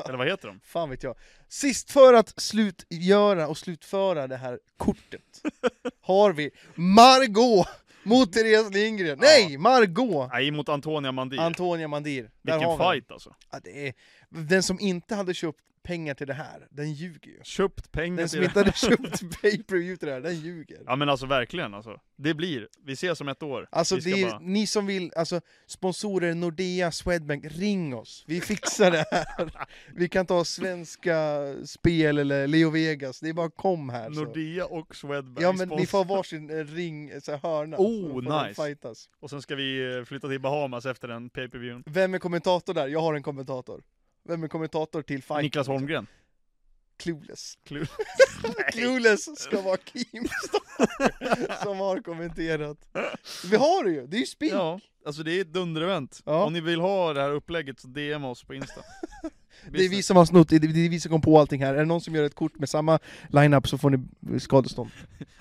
Eller vad heter de?
Fan vet jag. Sist för att slutgöra och slutföra det här kortet har vi Margot mot Therese Lindgren. Nej, Margot!
Nej, mot Antonia Mandir.
Antonia Mandir. Där
Vilken
har vi den.
fight alltså.
Ja, det är... Den som inte hade köpt pengar till det här, den ljuger ju.
Köpt pengar
Den
till
som
det
inte hade köpt pay per view till det här, den ljuger.
Ja men alltså verkligen alltså. Det blir, vi ses om ett år.
Alltså
vi ska
det är,
bara...
ni som vill, alltså sponsorer Nordea, Swedbank, ring oss! Vi fixar det här! Vi kan ta Svenska Spel eller Leo Vegas, det är bara kom här! Så.
Nordea och Swedbank
alltså. Ja men ni
sponsrar.
får varsin eh, ring, så här, hörna.
Oh,
så får de
nice.
Fightas.
Och sen ska vi eh, flytta till Bahamas efter den pay-per-viewen.
Vem är kommentator där? Jag har en kommentator. Vem är kommentator till fight?
Niklas Holmgren.
Clueless.
Kul.
Clueless ska vara Kim Starr som har kommenterat. Vi har det ju, det är ju spik!
Ja, alltså det är ett dunderevent.
Ja.
Om ni vill ha det här upplägget så DM oss på Insta.
Det är vi som har snott, det är det är vi som kom på allting här. Är det någon som gör ett kort med samma line-up så får ni skadestånd.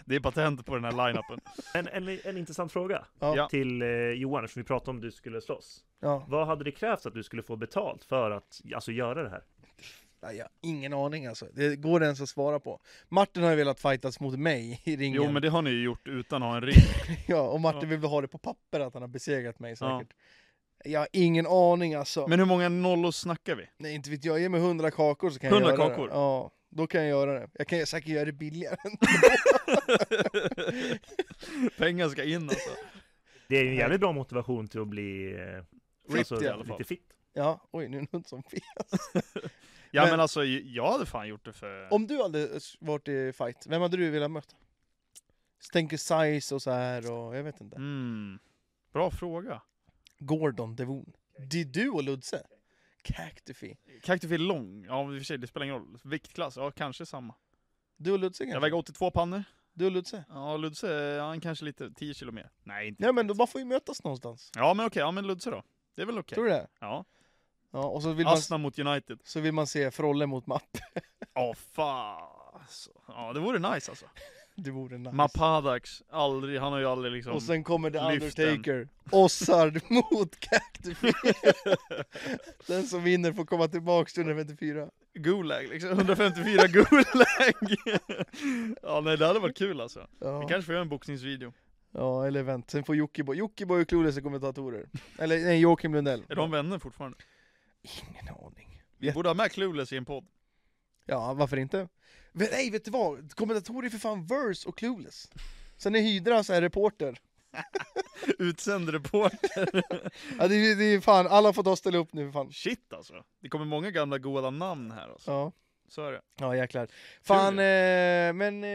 Det är patent på den här line-upen.
En, en, en intressant fråga
Ja.
Ja.
till eh, Johan, eftersom vi pratade om du skulle slåss.
Ja.
Vad hade det krävts att du skulle få betalt för att alltså, göra det här?
Nej, jag har ingen aning alltså. Det går det ens att svara på. Martin har ju velat fightas mot mig i ringen.
Jo men det har ni ju gjort utan att ha en ring.
Ja, och Martin
Ja.
vill väl ha det på papper att han har besegrat mig säkert. Jag har ingen aning alltså.
Men hur många nollor snackar vi?
Nej, inte vet jag. Ge mig 100 kakor så kan
100
jag göra
kakor?
det. Ja, då kan jag göra det. Jag kan säkert göra det billigare.
Pengar ska in alltså.
Det är ju en jävligt bra motivation till att bli eh,
Fit i alla fall.
lite fit.
Ja, oj nu är det någon som fel.
Ja
Men-
men, alltså jag hade fan gjort det för...
Om du hade s- varit i fight, vem hade du velat möta? Tänker size och så här och jag vet inte.
Mm. Bra fråga.
Gordon Devon. Det är du och Ludse. Cactify.
Cactus är lång. Ja i och för sig, det spelar ingen roll. Viktklass, ja kanske samma.
Du och Ludse
Jag
kanske?
väger 82 pannor.
Du och Ludse?
Ja Ludse, ja, han kanske lite, 10 kilo mer. Nej inte
Ja men då, man får ju mötas någonstans.
Ja men okej, ja men Ludse då. Det är väl okej.
Tror du det?
Ja. alltså-
Ja, och så vill, man,
Asna mot United.
så vill man se Frolle mot Mapp.
Ja fan. alltså. Ja det vore nice alltså.
Det vore nice.
Mapadax, aldrig, han har ju aldrig liksom...
Och sen kommer The
lyft den.
Undertaker, Ossard mot Cactify. Den som vinner får komma tillbaks till 154.
Gulag liksom, 154 Gulag! ja nej det hade varit kul alltså. Vi
Ja.
kanske får göra en boxningsvideo.
ja, eller vänt. Sen får Jockiboi, Jockiboi och Clueless är kommentatorer. Eller nej, Joakim Lundell.
Är de vänner fortfarande?
Ingen aning.
Vi
Ja.
borde ha med Clueless i en podd.
Ja, varför inte? Men, nej, vet du vad? Kommentatorer är för fan Verse och Clueless. Sen är Hydra så här reporter.
Utsänd reporter.
Ja, det, är- det är fan, alla får ta och ställa upp nu för fan.
Shit alltså. Det kommer många gamla goda namn här alltså.
Ja,
Så är det.
ja jäklar. Fan, eh, men eh,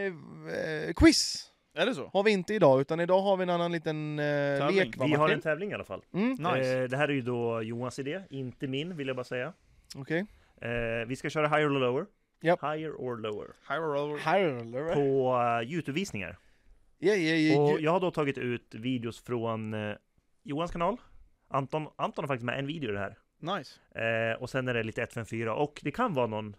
eh, quiz
Är det så?
har vi inte idag, utan idag har vi en annan liten eh,
Tävling.
lek va,
Vi har en
Martin?
tävling i alla fall.
Mm,
Nice.
Eh, det här är ju då Johans idé, inte min vill jag bara säga.
okej.
Eh, vi ska köra higher or lower.
Japp.
Higher or lower.
Higher roller.
Harler.
På eh, Youtube-visningar.
Ja, ja, ja,
Och
ja.
jag har då tagit ut videos från eh, Johans kanal. Anton, Anton har faktiskt med en video i det här.
Nice.
Eh, och sen är det lite 154 och det kan vara någon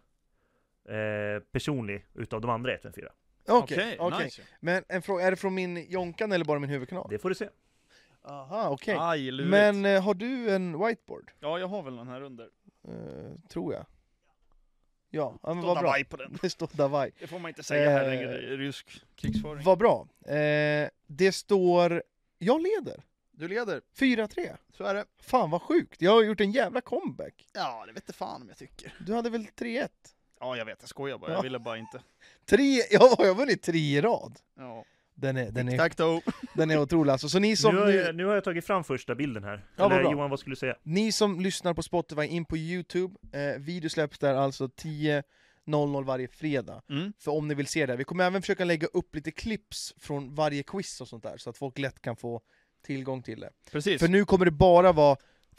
eh, personlig utav de andra 154.
Okej, okej.
nice.
Men en fråga, är det från min Jonkan eller bara min huvudkanal?
Det får du se.
Aha, okej.
Aj, lurigt.
Men eh, har du en whiteboard?
Ja, jag har väl någon här under.
Eh, tror jag. Ja, ja men
Stå
vad bra.
Davai på den.
Det står Davai.
Det får man inte säga här
Eh,
längre, det är rysk krigsföring.
Vad bra. Eh, det står... Jag leder.
Du leder,
4-3.
så är det.
Fan vad sjukt. Jag har gjort en jävla comeback.
Ja, det vet fan om jag tycker.
Du hade väl 3-1?
Ja, jag vet, jag skojar bara.
Ja.
Jag ville bara inte.
Tre... Ja, jag har vunnit tre i rad.
Ja.
Den är, den är,
Tack då.
den är otrolig alltså. Så ni som...
Nu har, jag, nu har jag tagit fram första bilden här.
Ja, vad
Eller
bra.
Johan, vad skulle du säga?
Ni som lyssnar på Spotify, in på Youtube. Eh, video släpps där alltså 10.00 varje fredag.
Mm.
För om ni vill se det. Vi kommer även försöka lägga upp lite clips från varje quiz och sånt där, så att folk lätt kan få tillgång till det.
Precis.
För nu kommer det bara vara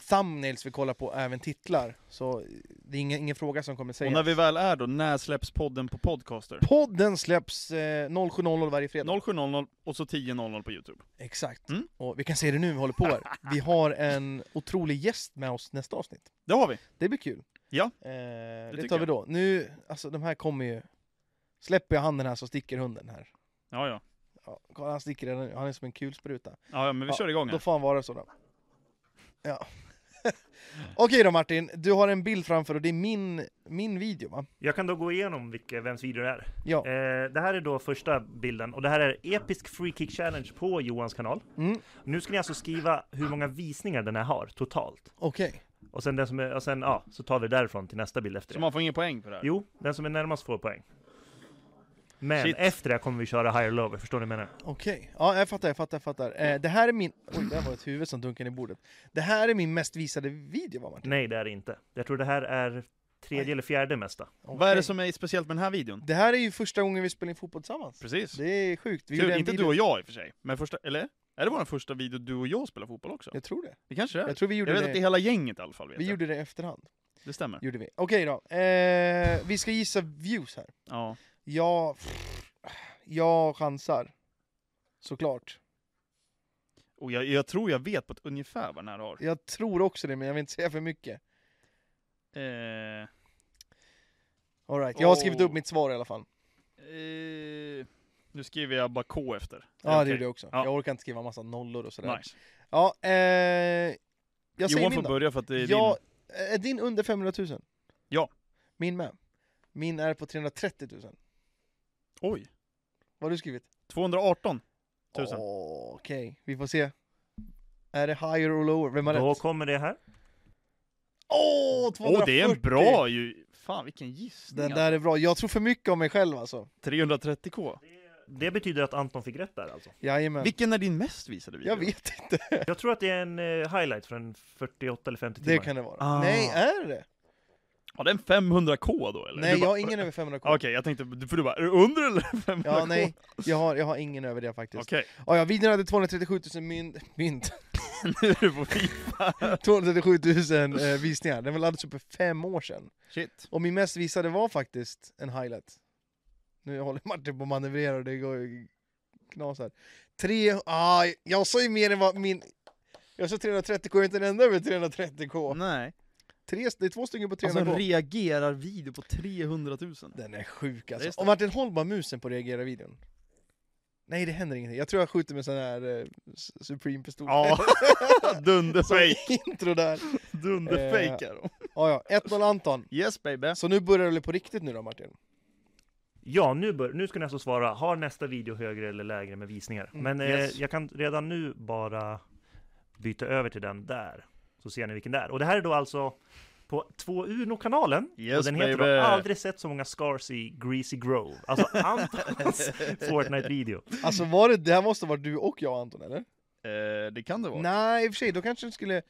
thumbnails vi kollar på, även titlar. Så eh, det är ingen, ingen fråga som kommer
Och
säga.
när vi väl är då, när släpps podden på Podcaster?
Podden släpps eh, 07.00 varje fredag.
07.00 och så 10.00 på Youtube.
Exakt.
Mm.
Och vi kan se det nu, vi håller på här. Vi har en otrolig gäst med oss nästa avsnitt.
Det har vi.
Det blir kul.
Ja,
eh, det,
tycker
tar vi
jag.
då. Nu, alltså de här kommer ju... Släpper jag handen här så sticker hunden här.
Ja, ja.
Ja, kolla, han sticker redan nu. Han är som en kulspruta.
Ja, ja men vi
Ja,
kör igång
Då
här.
får han vara så då. Ja. Okej då Martin, du har en bild framför och det är min, min video va?
Jag kan då gå igenom vilka, vems video det är.
Ja.
Eh, det här är då första bilden och det här är Episk Free Kick Challenge på Johans kanal.
Mm.
Nu ska ni alltså skriva hur många visningar den här har totalt.
Okej.
Och sen den som är, och sen ja, så tar vi därifrån till nästa bild efter
Så
det.
man får ingen poäng för det här?
Jo, den som är närmast får poäng. Men
Shit.
efter det här kommer vi köra higher lower, förstår ni vad jag menar?
Okej, ja jag fattar, jag fattar, jag fattar. Eh, det här är min... Oj, där var ett huvud som dunkade i bordet. Det här är min mest visade video va Martin?
Nej, det är det inte. Jag tror det här är tredje eller fjärde mesta.
Vad är
Okej.
det som är speciellt med den här videon?
Det här är ju första gången vi spelar in fotboll tillsammans.
Precis.
Det är sjukt. Vi
Kul,
gjorde en
inte
video...
du och jag i och för sig, men första, eller? Är det vår första video du och jag spelar fotboll också?
Jag tror det.
Det kanske det är?
Jag tror vi
Jag
gjorde
vet
det.
att det är hela gänget i alla fall vet
vi
jag.
gjorde det i efterhand.
Det stämmer.
Gjorde vi. Okej då. Eh, vi ska gissa views här.
Ja.
Jag... Jag chansar. Såklart.
Och jag, jag tror jag vet på ett ungefär vad den här har.
Jag tror också det, men jag vill inte säga för mycket.
Eh,
All right. jag har
Oh.
skrivit upp mitt svar i alla fall.
eh, nu skriver jag bara K efter.
Ja, det gjorde jag också.
Ja.
Jag orkar inte skriva massa nollor och sådär.
Nice.
Ja, eh, jag säger
Johan
min
får
då.
börja för att det är
Ja,
din.
är din under 500 000?
Ja.
Min med. Min är på 330 000. Vad
Oj.
har du skrivit?
218 tusen.
Åh, Okej, vi får se. Är det higher or lower? Vem har
Då
rätt?
kommer det här.
Åh,
Åh,
240!
det är en bra ju! Fan vilken gissning!
Den där är bra. Jag tror för mycket om mig själv alltså.
alltså. 330k.
Det betyder att Anton fick rätt där alltså.
Jajamän.
Vilken är din mest visade video?
Jag vet inte.
Jag tror att det är en eh, highlight från 48 eller 50 timmar.
Det kan det vara.
Ah.
Nej, är det
Har den 500k då eller?
Nej,
Du
jag
bara-
har ingen över 500 k.
Okej, jag tänkte, för du bara, är det under eller 500k?
Ja, nej. Jag har, jag har ingen över det faktiskt. Ah,
Okej,
Ja, ja, videon hade 237 000 mynt... mynt.
nu är du på fint.
237 000 eh, visningar. Den laddades upp för fem år sedan.
Shit.
Och min mest visade var faktiskt en highlight. Nu håller Martin på att manövrera och det går ju knas här. Tre... Ah, jag sa ju mer än vad min... Jag sa 330k, inte en enda över 330k.
Nej.
Tre, det är två stycken på 300k.
Mm. Alltså reagerar video på 300 000.
Den är sjuk
Just
alltså.
det.
Och Martin, håll bara musen på reagera-videon. Nej, det händer ingenting. Jag tror jag skjuter med sån här eh, s- Supreme-pistol.
Ja, dunderfejk.
Intro där. Eh,
Dunderfejk är de.
Ja, ja. 1-0 Anton.
Yes baby.
Så nu börjar det väl på riktigt nu då, Martin?
Ja, nu, bör, nu ska ni alltså svara, har nästa video högre eller lägre med visningar? Men eh,
Mm. yes.
jag kan redan nu bara byta över till den där, så ser ni vilken det är. Och det här är då alltså på 2 Uno-kanalen,
Yes,
och den heter
baby.
då Aldrig sett så många scars i Greasy Grove. Alltså Antons Fortnite-video.
Alltså var det, det här måste vara du och jag Anton, eller?
Eh, det kan det vara.
Nej, i och för sig, då kanske den skulle...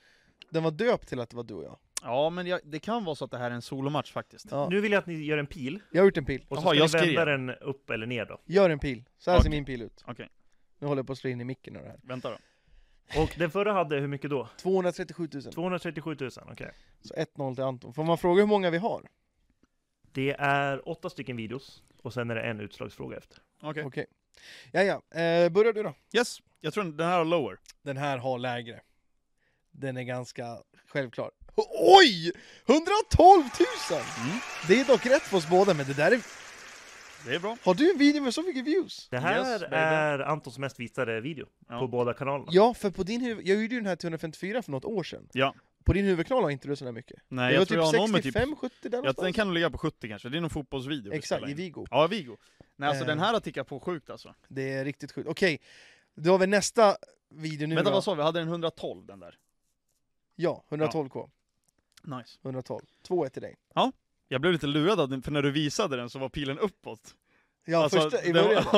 Den var döpt till att det var du och jag.
Ja, men jag, det kan vara så att det här är en solomatch faktiskt.
Ja.
Nu vill jag att ni gör en pil,
Jag har gjort en pil.
och så
Jaha, jag
ska ni
skrev.
vända den upp eller ner då.
Gör en pil. Så här
Okej.
ser min pil ut.
Okej,
Nu håller jag på att slå in i micken och det här.
vänta då.
Och den förra hade hur mycket då?
237 000.
237 000, okej.
Så 1-0 till Anton. Får man fråga hur många vi har?
Det är åtta stycken videos, och sen är det en utslagsfråga efter.
Okej.
Okej. Ja, ja. Eh, börjar du då.
Yes, jag tror den här har lower.
Den här har lägre. Den är ganska självklar. Oj! 112 000!
Mm.
Det är dock rätt för oss båda, men det där är...
Det är bra.
Har du en video med så mycket views?
Det här
Yes, baby.
är Antons mest visade video
Ja.
på båda kanalerna.
Ja, för på din huvud... Jag gjorde ju den här 354 för något år sedan.
Ja.
På din huvudkanal har inte du så där mycket.
Nej,
det
jag
var
tror jag har någon med
typ
typ...
65-70 där
Ja, den
någonstans.
kan nog ligga på 70 kanske, det är någon fotbollsvideo vi
Exakt,
spelar
i
in.
Vigo.
Ja, Vigo. Nej alltså
Eh.
den här har tickat på sjukt alltså.
Det är riktigt sjukt. Okej, då har vi nästa video nu
Vänta
då.
vad sa vi, hade den 112 den där?
Ja, 112k.
Nice.
112. 2-1 till dig.
Jag blev lite lurad av den, för när du visade den så var pilen uppåt.
Ja, första i
den
början.
Alltså,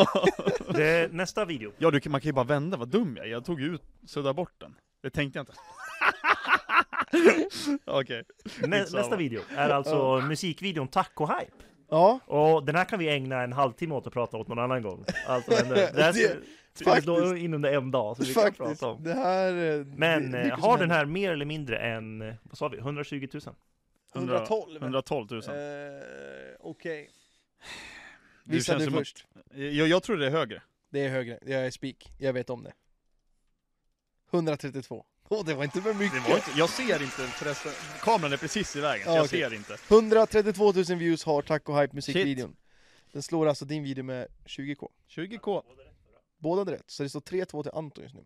var...
Det är nästa video.
Ja du, kan- man kan ju bara vända, vad dum jag är. Jag tog ju ut, sudda bort den. Det tänkte jag inte. Okej.
Nä,
Skitsamma.
nästa video är alltså musikvideon Taco Hype.
Ja,
Och den här kan vi ägna en halvtimme åt att prata åt någon annan gång. Alltså, den, det
Det-
här skulle slå
faktiskt.
in under en dag, så vi kan
faktiskt.
prata om.
Det här... eh,
Men
det-
eh,
mycket som
har den
händer. Mm.
här mer eller mindre än, eh, vad sa vi, 120 000?
112.
112 000.
Eh, Okej.
Du
Visa
känns
du
som att-
först.
Jag, jag tror det är högre.
Det är högre. Jag är spik. Jag vet om det. 132. Åh, det var inte för
Det
mycket.
var inte, jag ser inte förresten. Kameran är precis i vägen, så
Ja,
jag
okej.
ser inte.
132 000 views har Taco Hype musikvideon. Den slår alltså din video med 20k.
20k.
Båda hade rätt, så det står 3-2 till Anton just nu.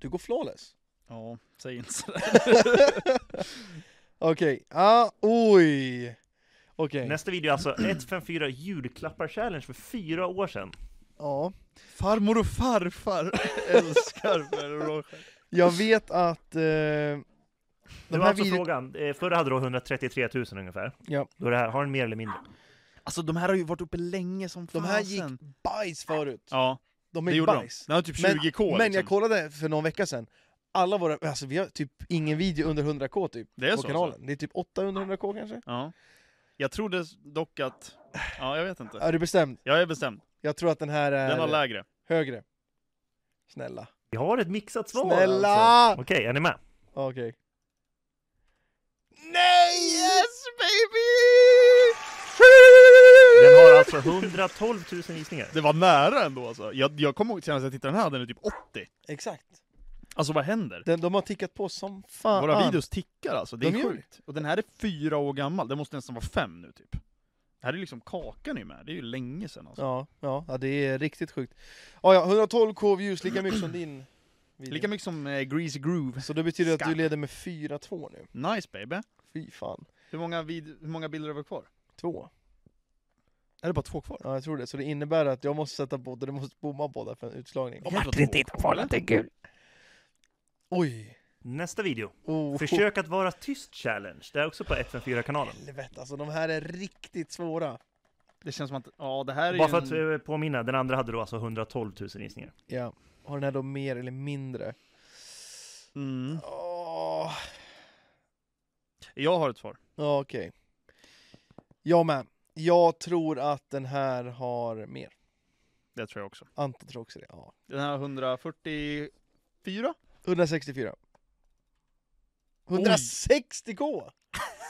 Du går flawless.
Ja, säg inte sådär.
Okej, ah, oj! Okej,
Nästa video är alltså 154 julklappar challenge för fyra år sedan.
ja.
Farmor och farfar älskar Ferrero Rocher.
Jag vet att... Eh, de
Det var alltså
video-
frågan. Eh, Förr hade du 133 000 ungefär.
Ja.
Då är det här, har den mer eller mindre?
Alltså de här har ju varit uppe länge som
De här gick bajs förut.
Äh, Ja,
De
det
är
gjorde
bajs.
de. Den har typ 20k
Men-
liksom.
Men jag kollade för någon vecka sedan. Alla våra, alltså vi har typ ingen video under 100k typ.
Det
på
är så, alltså.
kanalen. Det är typ 8 under 100k kanske?
Ja. Jag trodde dock att... Ja, jag vet inte.
Är du bestämd?
Jag är bestämd.
Jag tror att den här är
Den har lägre.
högre. Snälla.
Vi har ett mixat svar
Snälla!
Alltså. Okej, är ni med?
Okej. Nej! Yes baby!
Den har alltså 112 000 visningar.
Det var nära ändå alltså. Jag, jag kommer ihåg senast jag tittade den här, den är typ 80.
Exakt.
Alltså vad händer?
Den, de har tickat på som fan.
Våra videos tickar alltså, det är
De gör
sjukt. Och den här är fyra år gammal, den måste nästan vara fem nu typ. Det här är liksom Kakan är ju med, det är ju länge sedan alltså.
Ja, ja, ja, det är riktigt sjukt. Ja, ja, 112k views, lika mycket som din video.
Lika mycket som eh, Greasy Groove.
Så det betyder att du
Skarp.
leder med 4-2 nu.
Nice baby.
Fy fan.
Hur många, vid- hur många bilder har vi kvar?
Två.
Är det bara två kvar?
Ja, jag tror det. Så det innebär att jag måste sätta båda, du måste bomma båda för en utslagning.
Martin, titta på den!
Oj!
Nästa video.
Oh.
Försök att vara tyst challenge. Det är också på 154-kanalen.
Helvete, alltså de här är riktigt svåra.
Det känns som att, ja det här är
Bara för att
ju en...
eh, påminna, den andra hade då alltså 112 000 visningar.
Ja. Har den här då mer eller mindre?
Mm.
Åh.
Jag har ett svar.
Ja, okej. Jag med. Jag tror att den här har mer.
Det tror jag också.
Anton tror också det. Ja.
Den här 144?
164. 160k!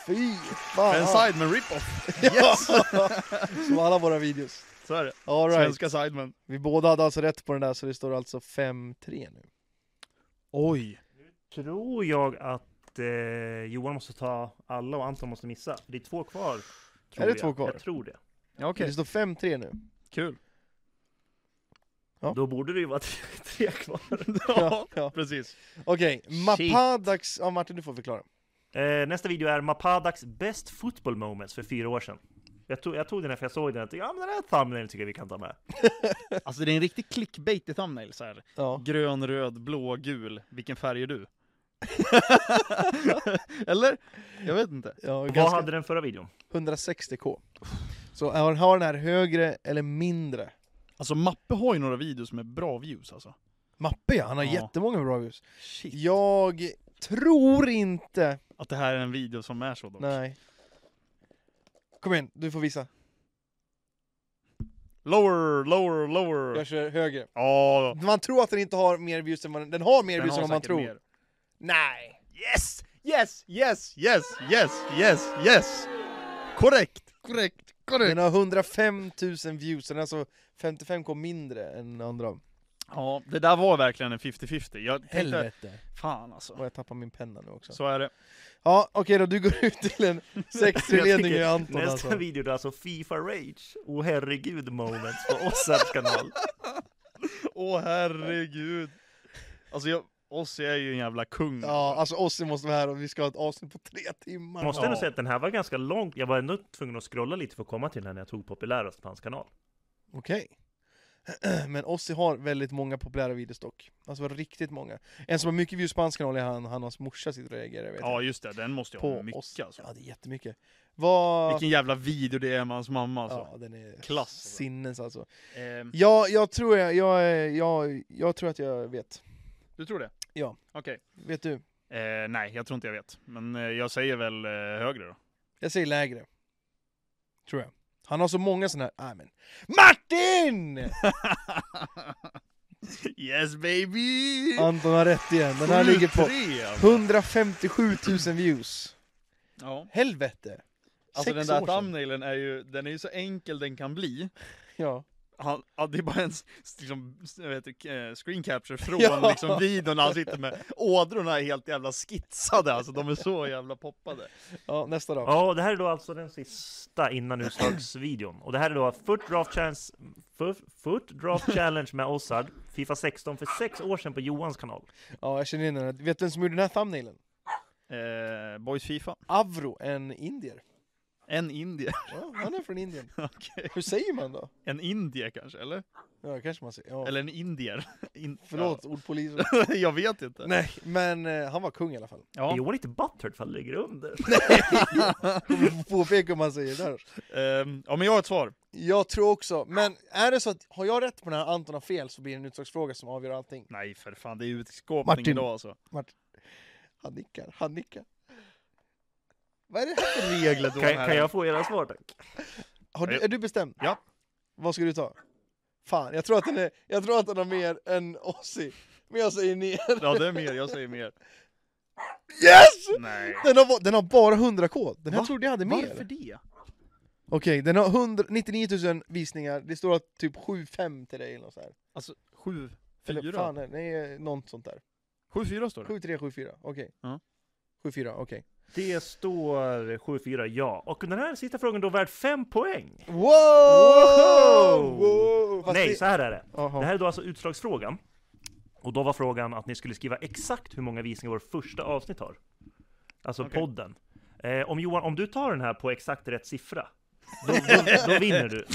Fy fan!
En sideman rip-off!
Yes! Som alla våra videos.
Så är det.
All right.
Svenska sideman.
Vi båda hade alltså rätt på den där, så det står alltså 5-3 nu.
Oj!
Tror jag att eh, Johan måste ta alla och Anton måste missa. Det är två kvar. Tror
Är det
jag.
två kvar?
Jag tror det.
Ja, okej.
Det står 5-3 nu.
Kul.
Då borde det ju vara tre, tre kvar.
Ja,
ja.
precis.
Okej, Mapadax... Ja Martin, du får förklara.
Eh, nästa video är Mapadax Best Football Moments för fyra år sedan. Jag tog, jag tog den här för jag såg den och tänkte ja men den här thumbnail tycker jag vi kan ta med.
Alltså det är en riktig clickbait i thumbnail så här.
Ja.
Grön, röd, blå, gul. Vilken färg är du? Eller? Jag vet inte.
ja
Vad
ganska...
hade den förra videon?
160k. Så har har den här högre eller mindre?
Alltså Mappe har ju några videos med bra views alltså.
Mappe ja, han har
Ja.
jättemånga bra views.
Shit.
Jag tror inte...
Att det här är en video som är så dock.
Nej. Kom igen, du får visa.
Lower, lower, lower.
Jag kör högre.
Ja.
Man tror att den inte har mer views än vad den... Den har mer
den
views än
har
vad man
säkert
tror.
mer.
Nej!
Yes! Yes, yes, yes, yes, yes, yes! Korrekt, korrekt, korrekt!
Den har 105 000 views, den är alltså 55k mindre än andra.
Ja, det där var verkligen en 50-50. Jag tänkte,
Helvete.
fan
Och
alltså.
jag tappar min penna nu också.
Så är det.
Ja, okej då, du går ut till en 6-3-ledning i Anton
Nästa
alltså.
video det är alltså Fifa Rage. Oh herregud moments på Ossards kanal.
Åh herregud! Alltså jag, Ossi är ju en jävla kung.
Ja, alltså Ossi måste vara här och vi ska ha ett avsnitt på tre timmar.
Måste
Ja.
ändå säga att den här var ganska lång. Jag var ändå tvungen att scrolla lite för att komma till den när jag tog populärast på hans kanal.
Okej. Men Ossi har väldigt många populära videos dock. Alltså riktigt många. En som har mycket views på hans kanal är han, han och hans morsa sitter och reagerar vet jag.
Ja just det, den måste jag ha
på
mycket
Ossi.
alltså.
Ja, det är jättemycket. Vad...
Vilken jävla video det är med hans mamma alltså.
Ja, den är
Klass.
sinnes alltså.
Ehm,
Ja, jag tror jag, jag, är- jag, jag tror att jag vet.
du tror det?
Ja.
Okej.
Vet du?
Eh, nej, jag tror inte jag vet. Men eh, jag säger väl eh, högre då.
Jag säger lägre. Tror jag. Han har så många sådana här, nej men. Martin!
yes baby!
Anton har rätt igen, den här ligger på
73, alltså.
157 000 views.
Ja.
Helvete!
Alltså
Sex
den
år
där
sedan.
thumbnailen är ju, den är ju så enkel den kan bli.
Ja.
Han, ja, det är bara en s- s- liksom, s- jag vet, inte, eh, screen capture från
Ja.
liksom, videon när han sitter med ådrorna är helt jävla skitsade alltså, de är så jävla poppade.
ja, nästa då.
Ja, och det här är då alltså den sista innan utslagsvideon. Och det här är då Foot Draft Challenge, Foot, foot draft challenge med Ossard Fifa 16 för sex år sedan på Johans kanal.
Ja, jag känner in den här. Vet du vem som gjorde den här thumbnailen?
Eh, boys Fifa.
Avro, en indier.
En indier.
Ja, han är från Indien.
Okej.
Hur säger man då?
En indier kanske, eller?
Ja, kanske man säger. Ja.
Eller en indier. In-
Förlåt, ordpolisen.
Ja. jag vet inte.
Nej, men eh, han var kung i alla fall.
Är
Ja.
Johan inte butthurt för han ligger under?
Kommer få påpeka om man säger det där.
Ehm, ja, men jag har ett svar.
Jag tror också, men är det så att har jag rätt på den här Anton har fel så blir det en utslagsfråga som avgör allting.
Nej för fan, det är utskåpning
Martin.
idag alltså.
Han nickar, han nickar. Vad är det här för regel?
Regler då
Kan,
här.
kan jag få era svar tack?
Har du, är du bestämd?
Ja.
Vad ska du ta? Fan, jag tror att den, är, jag tror att den har mer än Ossi. Men jag säger ner.
Ja det är mer, jag säger mer.
Yes!
Nej.
Den har, va- den har bara 100k. Den här
Va?
trodde jag hade mer.
Varför det?
Okej, den har 100, 99 000 visningar, det står att typ 7-5 till dig eller något så här.
Alltså, sju,
Eller
fyra?
fan, nej, nej, något sånt där.
Sju, fyra står det.
7-3, 7-4, okej.
Ja.
7-4, okej.
Det står 7-4 ja. Och den här sista frågan då värd 5 poäng.
Wow!
Wow!
Wow! Fast
Nej,
det-
så här är det.
Jaha.
Det här är då alltså utslagsfrågan. Och då var frågan att ni skulle skriva exakt hur många visningar vårt första avsnitt har. Alltså
Okej.
podden. Eh, om Johan, om du tar den här på exakt rätt siffra, då, då, då vinner du.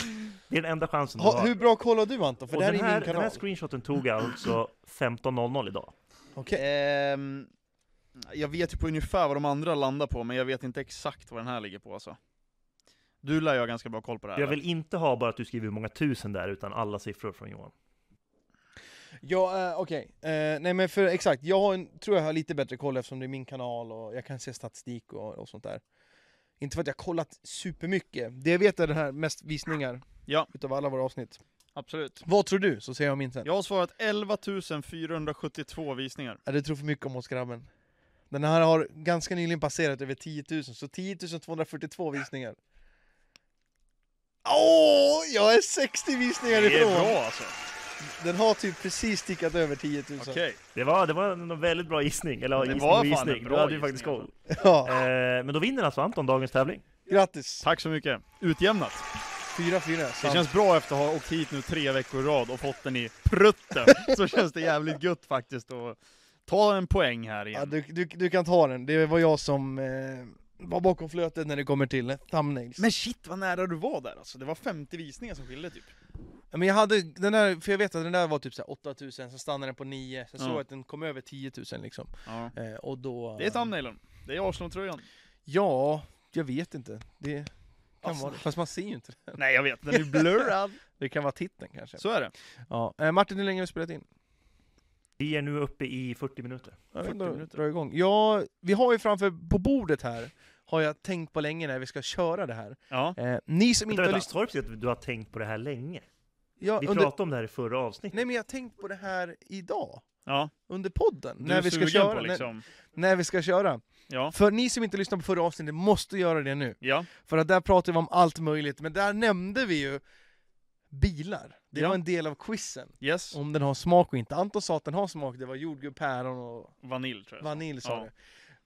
Det är den enda chansen du
ha,
har.
hur bra kollar du Anton? För
Och
det här
den
är
här,
min
den här
kanal.
screenshoten tog jag alltså 15.00 idag.
Okej.
Ehm, jag vet ju på ungefär vad de andra landar på, men jag vet inte exakt vad den här ligger på alltså. Du lär ju ha ganska bra koll på det här.
Jag vill inte ha bara att du skriver hur många tusen där, utan alla siffror från Johan.
Ja, eh, okej. Eh, nej men för exakt, jag har en, tror jag har lite bättre koll eftersom det är min kanal och jag kan se statistik och, och sånt där. Inte för att jag har kollat supermycket. Det jag vet är det här mest visningar
Ja.
utav alla våra avsnitt.
Absolut.
Vad tror du? Så säger jag min sen.
Jag har svarat 11 472 visningar.
Ja, du tror för mycket om oss grabben. Den här har ganska nyligen passerat över 10 000, så 10 242 visningar. Åh, jag är 60 visningar
Det är
ifrån!
bra alltså.
Den har typ precis tickat över 10 000.
Okej.
Det var, det var en väldigt bra gissning, eller ja,
Det
gissning
var
och
fan en
gissning.
bra
Du hade ju faktiskt
gissning,
koll.
alltså. Ja,
Eh, men då vinner alltså Anton dagens tävling.
grattis!
Tack så mycket. Utjämnat.
4-4.
Det
sant.
känns bra efter att ha åkt hit nu tre veckor i rad och fått den i prutten. Så känns det jävligt gött faktiskt att ta en poäng här
Ja,
igen.
du, du, du kan ta den, det var jag som eh, var bakom flötet när det kommer till thumbnails.
Men shit vad nära du var där alltså. Det var 50 visningar som skilde typ.
Ja, Men jag hade den där, för jag vet att den där var typ så här 8000, sen stannade den på 9, sen såg
Ja.
jag att den kom över 10 000 liksom.
Ja.
Eh, och då...
Det är thumbnailen. Det är Arsenal-tröjan.
Ja, jag vet inte. Det kan
Alltså.
vara det. Fast man ser ju inte det.
Nej jag vet, den är blurrad.
Det kan vara titeln kanske.
Så är det.
Ja. Eh, Martin, hur länge har vi spelat in?
Vi är nu uppe i 40 minuter.
Jag vet
40
inte,
minuter.
Dra igång. Ja, vi har ju framför, på bordet här, har jag tänkt på länge när vi ska köra det här.
Ja.
Eh, ni som inte
Vänta,
har
vänta,
lyssnat...
Torp säger att du har tänkt på det här länge.
Ja,
Vi
under,
pratade om det här i förra avsnittet.
nej men jag har tänkt på det här idag.
ja.
Under podden.
Du
när
är
vi ska
sugen
köra.
på liksom.
när, när vi ska köra.
Ja.
För ni som inte lyssnade på förra avsnittet måste göra det nu.
Ja.
För att där pratade vi om allt möjligt, men där nämnde vi ju bilar. Det
Ja.
var en del av quizen.
Yes.
Om den har smak och inte. Anton sa att den har smak, det var jordgubb, päron och
Vanilj tror jag.
vanilj sa
Ja.
du.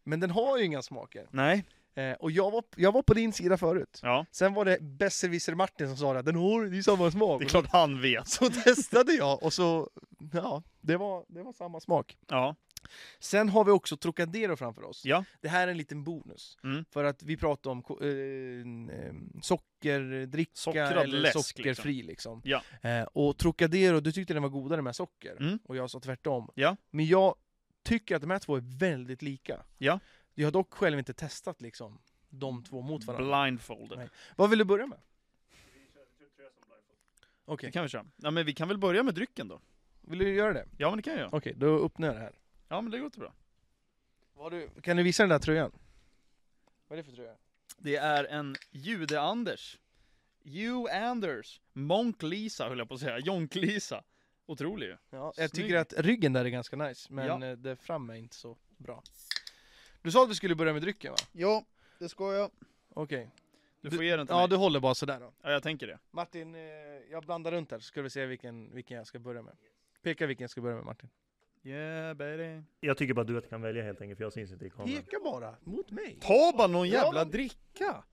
Men den har ju inga smaker.
Nej.
Eh, och jag var, jag var på din sida förut.
Ja.
Sen var det besserwisser Martin som sa det, att den har det är samma smak.
Det är klart han vet.
Så testade jag och så, ja, det var, det var samma smak.
Ja.
Sen har vi också Trocadero framför oss.
Ja.
Det här är en liten bonus.
Mm.
För att vi pratar om ko- eh, eh, sockerdricka
Sockrad
eller
läsk,
sockerfri liksom.
Ja.
Eh, och Trocadero, du tyckte den var godare med socker.
Mm.
Och jag sa tvärtom.
Ja.
Men jag tycker att de här två är väldigt lika.
Ja.
Jag har dock själv inte testat liksom de två mot varandra.
Blindfolded.
Nej. Vad vill du börja med? Okej,
Det kan vi köra. Ja men vi kan väl börja med drycken då?
vill du göra det?
Ja men det kan jag göra.
Okej, då öppnar jag det här.
Ja men det låter bra.
Vad har du, kan du visa den där tröjan? Vad är det för tröja?
Det är en Jude-Anders. You Anders. Monk-Lisa höll jag på att säga. Jonk-Lisa. Otrolig ju.
Ja, jag
Snygg.
tycker att ryggen där är ganska nice, men
Ja.
eh, det fram är inte så bra. Du sa att vi skulle börja med drycken va?
Ja, det ska jag.
Okej.
Du får ge den till
Ja,
mig.
du håller bara sådär då.
Ja, jag tänker det.
Martin, eh, jag blandar runt här så ska vi se vilken, vilken jag ska börja med. Peka vilken jag ska börja med Martin.
Yeah baby.
Jag tycker bara du att du kan välja helt enkelt, för jag syns inte i kameran.
Peka bara, mot mig!
Ta bara någon
Ja,
jävla
men-
dricka!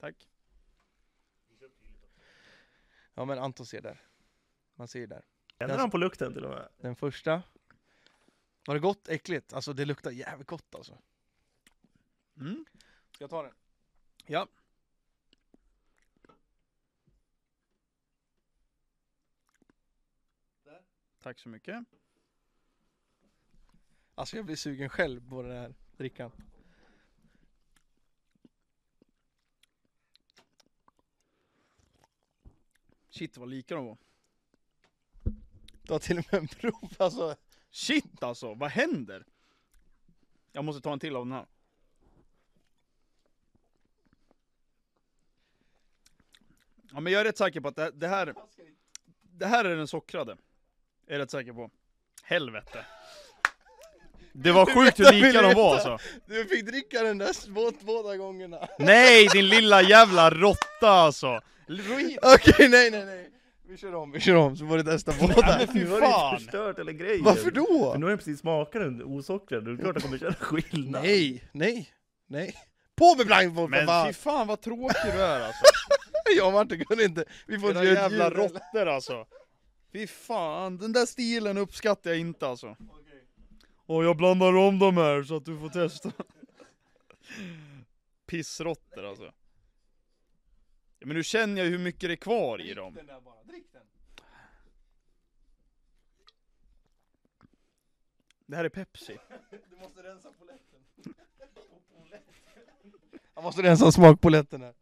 Tack.
Ja men Anton ser där. Man ser ju där.
Känner han på lukten till och med?
Den första. Var det gott? Äckligt? Alltså det luktar jävligt gott alltså.
Mm.
Ska jag ta den?
Ja. Tack så mycket.
Alltså jag blir sugen själv på den här drickan.
Shit vad lika de var.
Du har till och med en prov alltså.
Shit alltså, vad händer? Jag måste ta en till av den här. Ja men jag är rätt säker på att det, det här, det här är den sockrade. Jag är rätt säker på. Helvete. Det var sjukt hur
Jag vill
lika de var
veta.
alltså.
Du fick dricka den där båt båda gångerna.
Nej din lilla jävla råtta alltså. Ruin.
Okej, nej nej nej. Vi kör om, vi kör om så får du testa båda.
men fy
Nu har du
fan.
ju förstört hela grejen!
Varför då?
För nu har jag precis smakat den osockrad, det är klart att jag kommer känna skillnad!
Nej, nej, nej. På med blindfold för
Men
fan!
fy fan vad tråkig du är alltså.
Jag och Martin kunde inte. Vi får
Era
inte göra ett
jävla
ljud heller.
råttor alltså. Fy fan, den där stilen uppskattar jag inte alltså. Och jag blandar om dem här så att du får testa. Pissråttor alltså. Ja, men nu känner jag ju hur mycket det är kvar i dem. Det här är Pepsi.
Jag måste rensa smakpoletten här.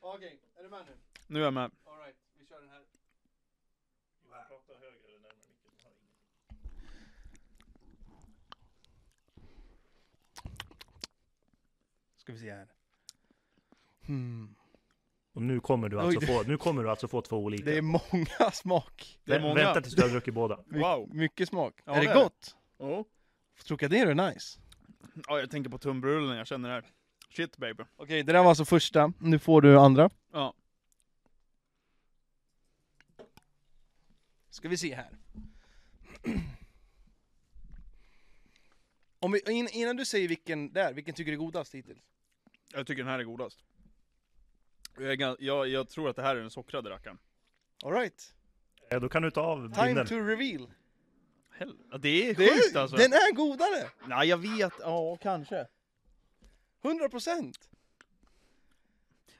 Okej, är du med nu?
Nu är jag med.
Alright, vi kör den här.
Ska vi se här. Hmm.
Och nu kommer du alltså
Oj, det-
få, nu kommer du alltså få två olika!
Det är många smak.
Det är många.
Vänta tills du har druckit båda!
My-
Wow.
Mycket smak.
Ja,
är det,
det är det.
gott?
Ja.
Trocadero är nice.
Ja, jag tänker på tunnbrullen, jag känner det här. Shit baby.
Okej, det där var alltså första. Nu får du andra.
Ja.
Ska vi se här. Om vi, in, innan du säger vilken där, vilken tycker du är godast hittills?
Jag tycker den här är godast. Jag, är gan- jag, jag tror att det här är den sockrade rackaren.
Alright,
Ja, då kan du ta av
time
binden!
to reveal.
Hel- ja, det är
Det
sjukt
är,
alltså.
Den är godare!
Nej jag vet, ja kanske.
100%!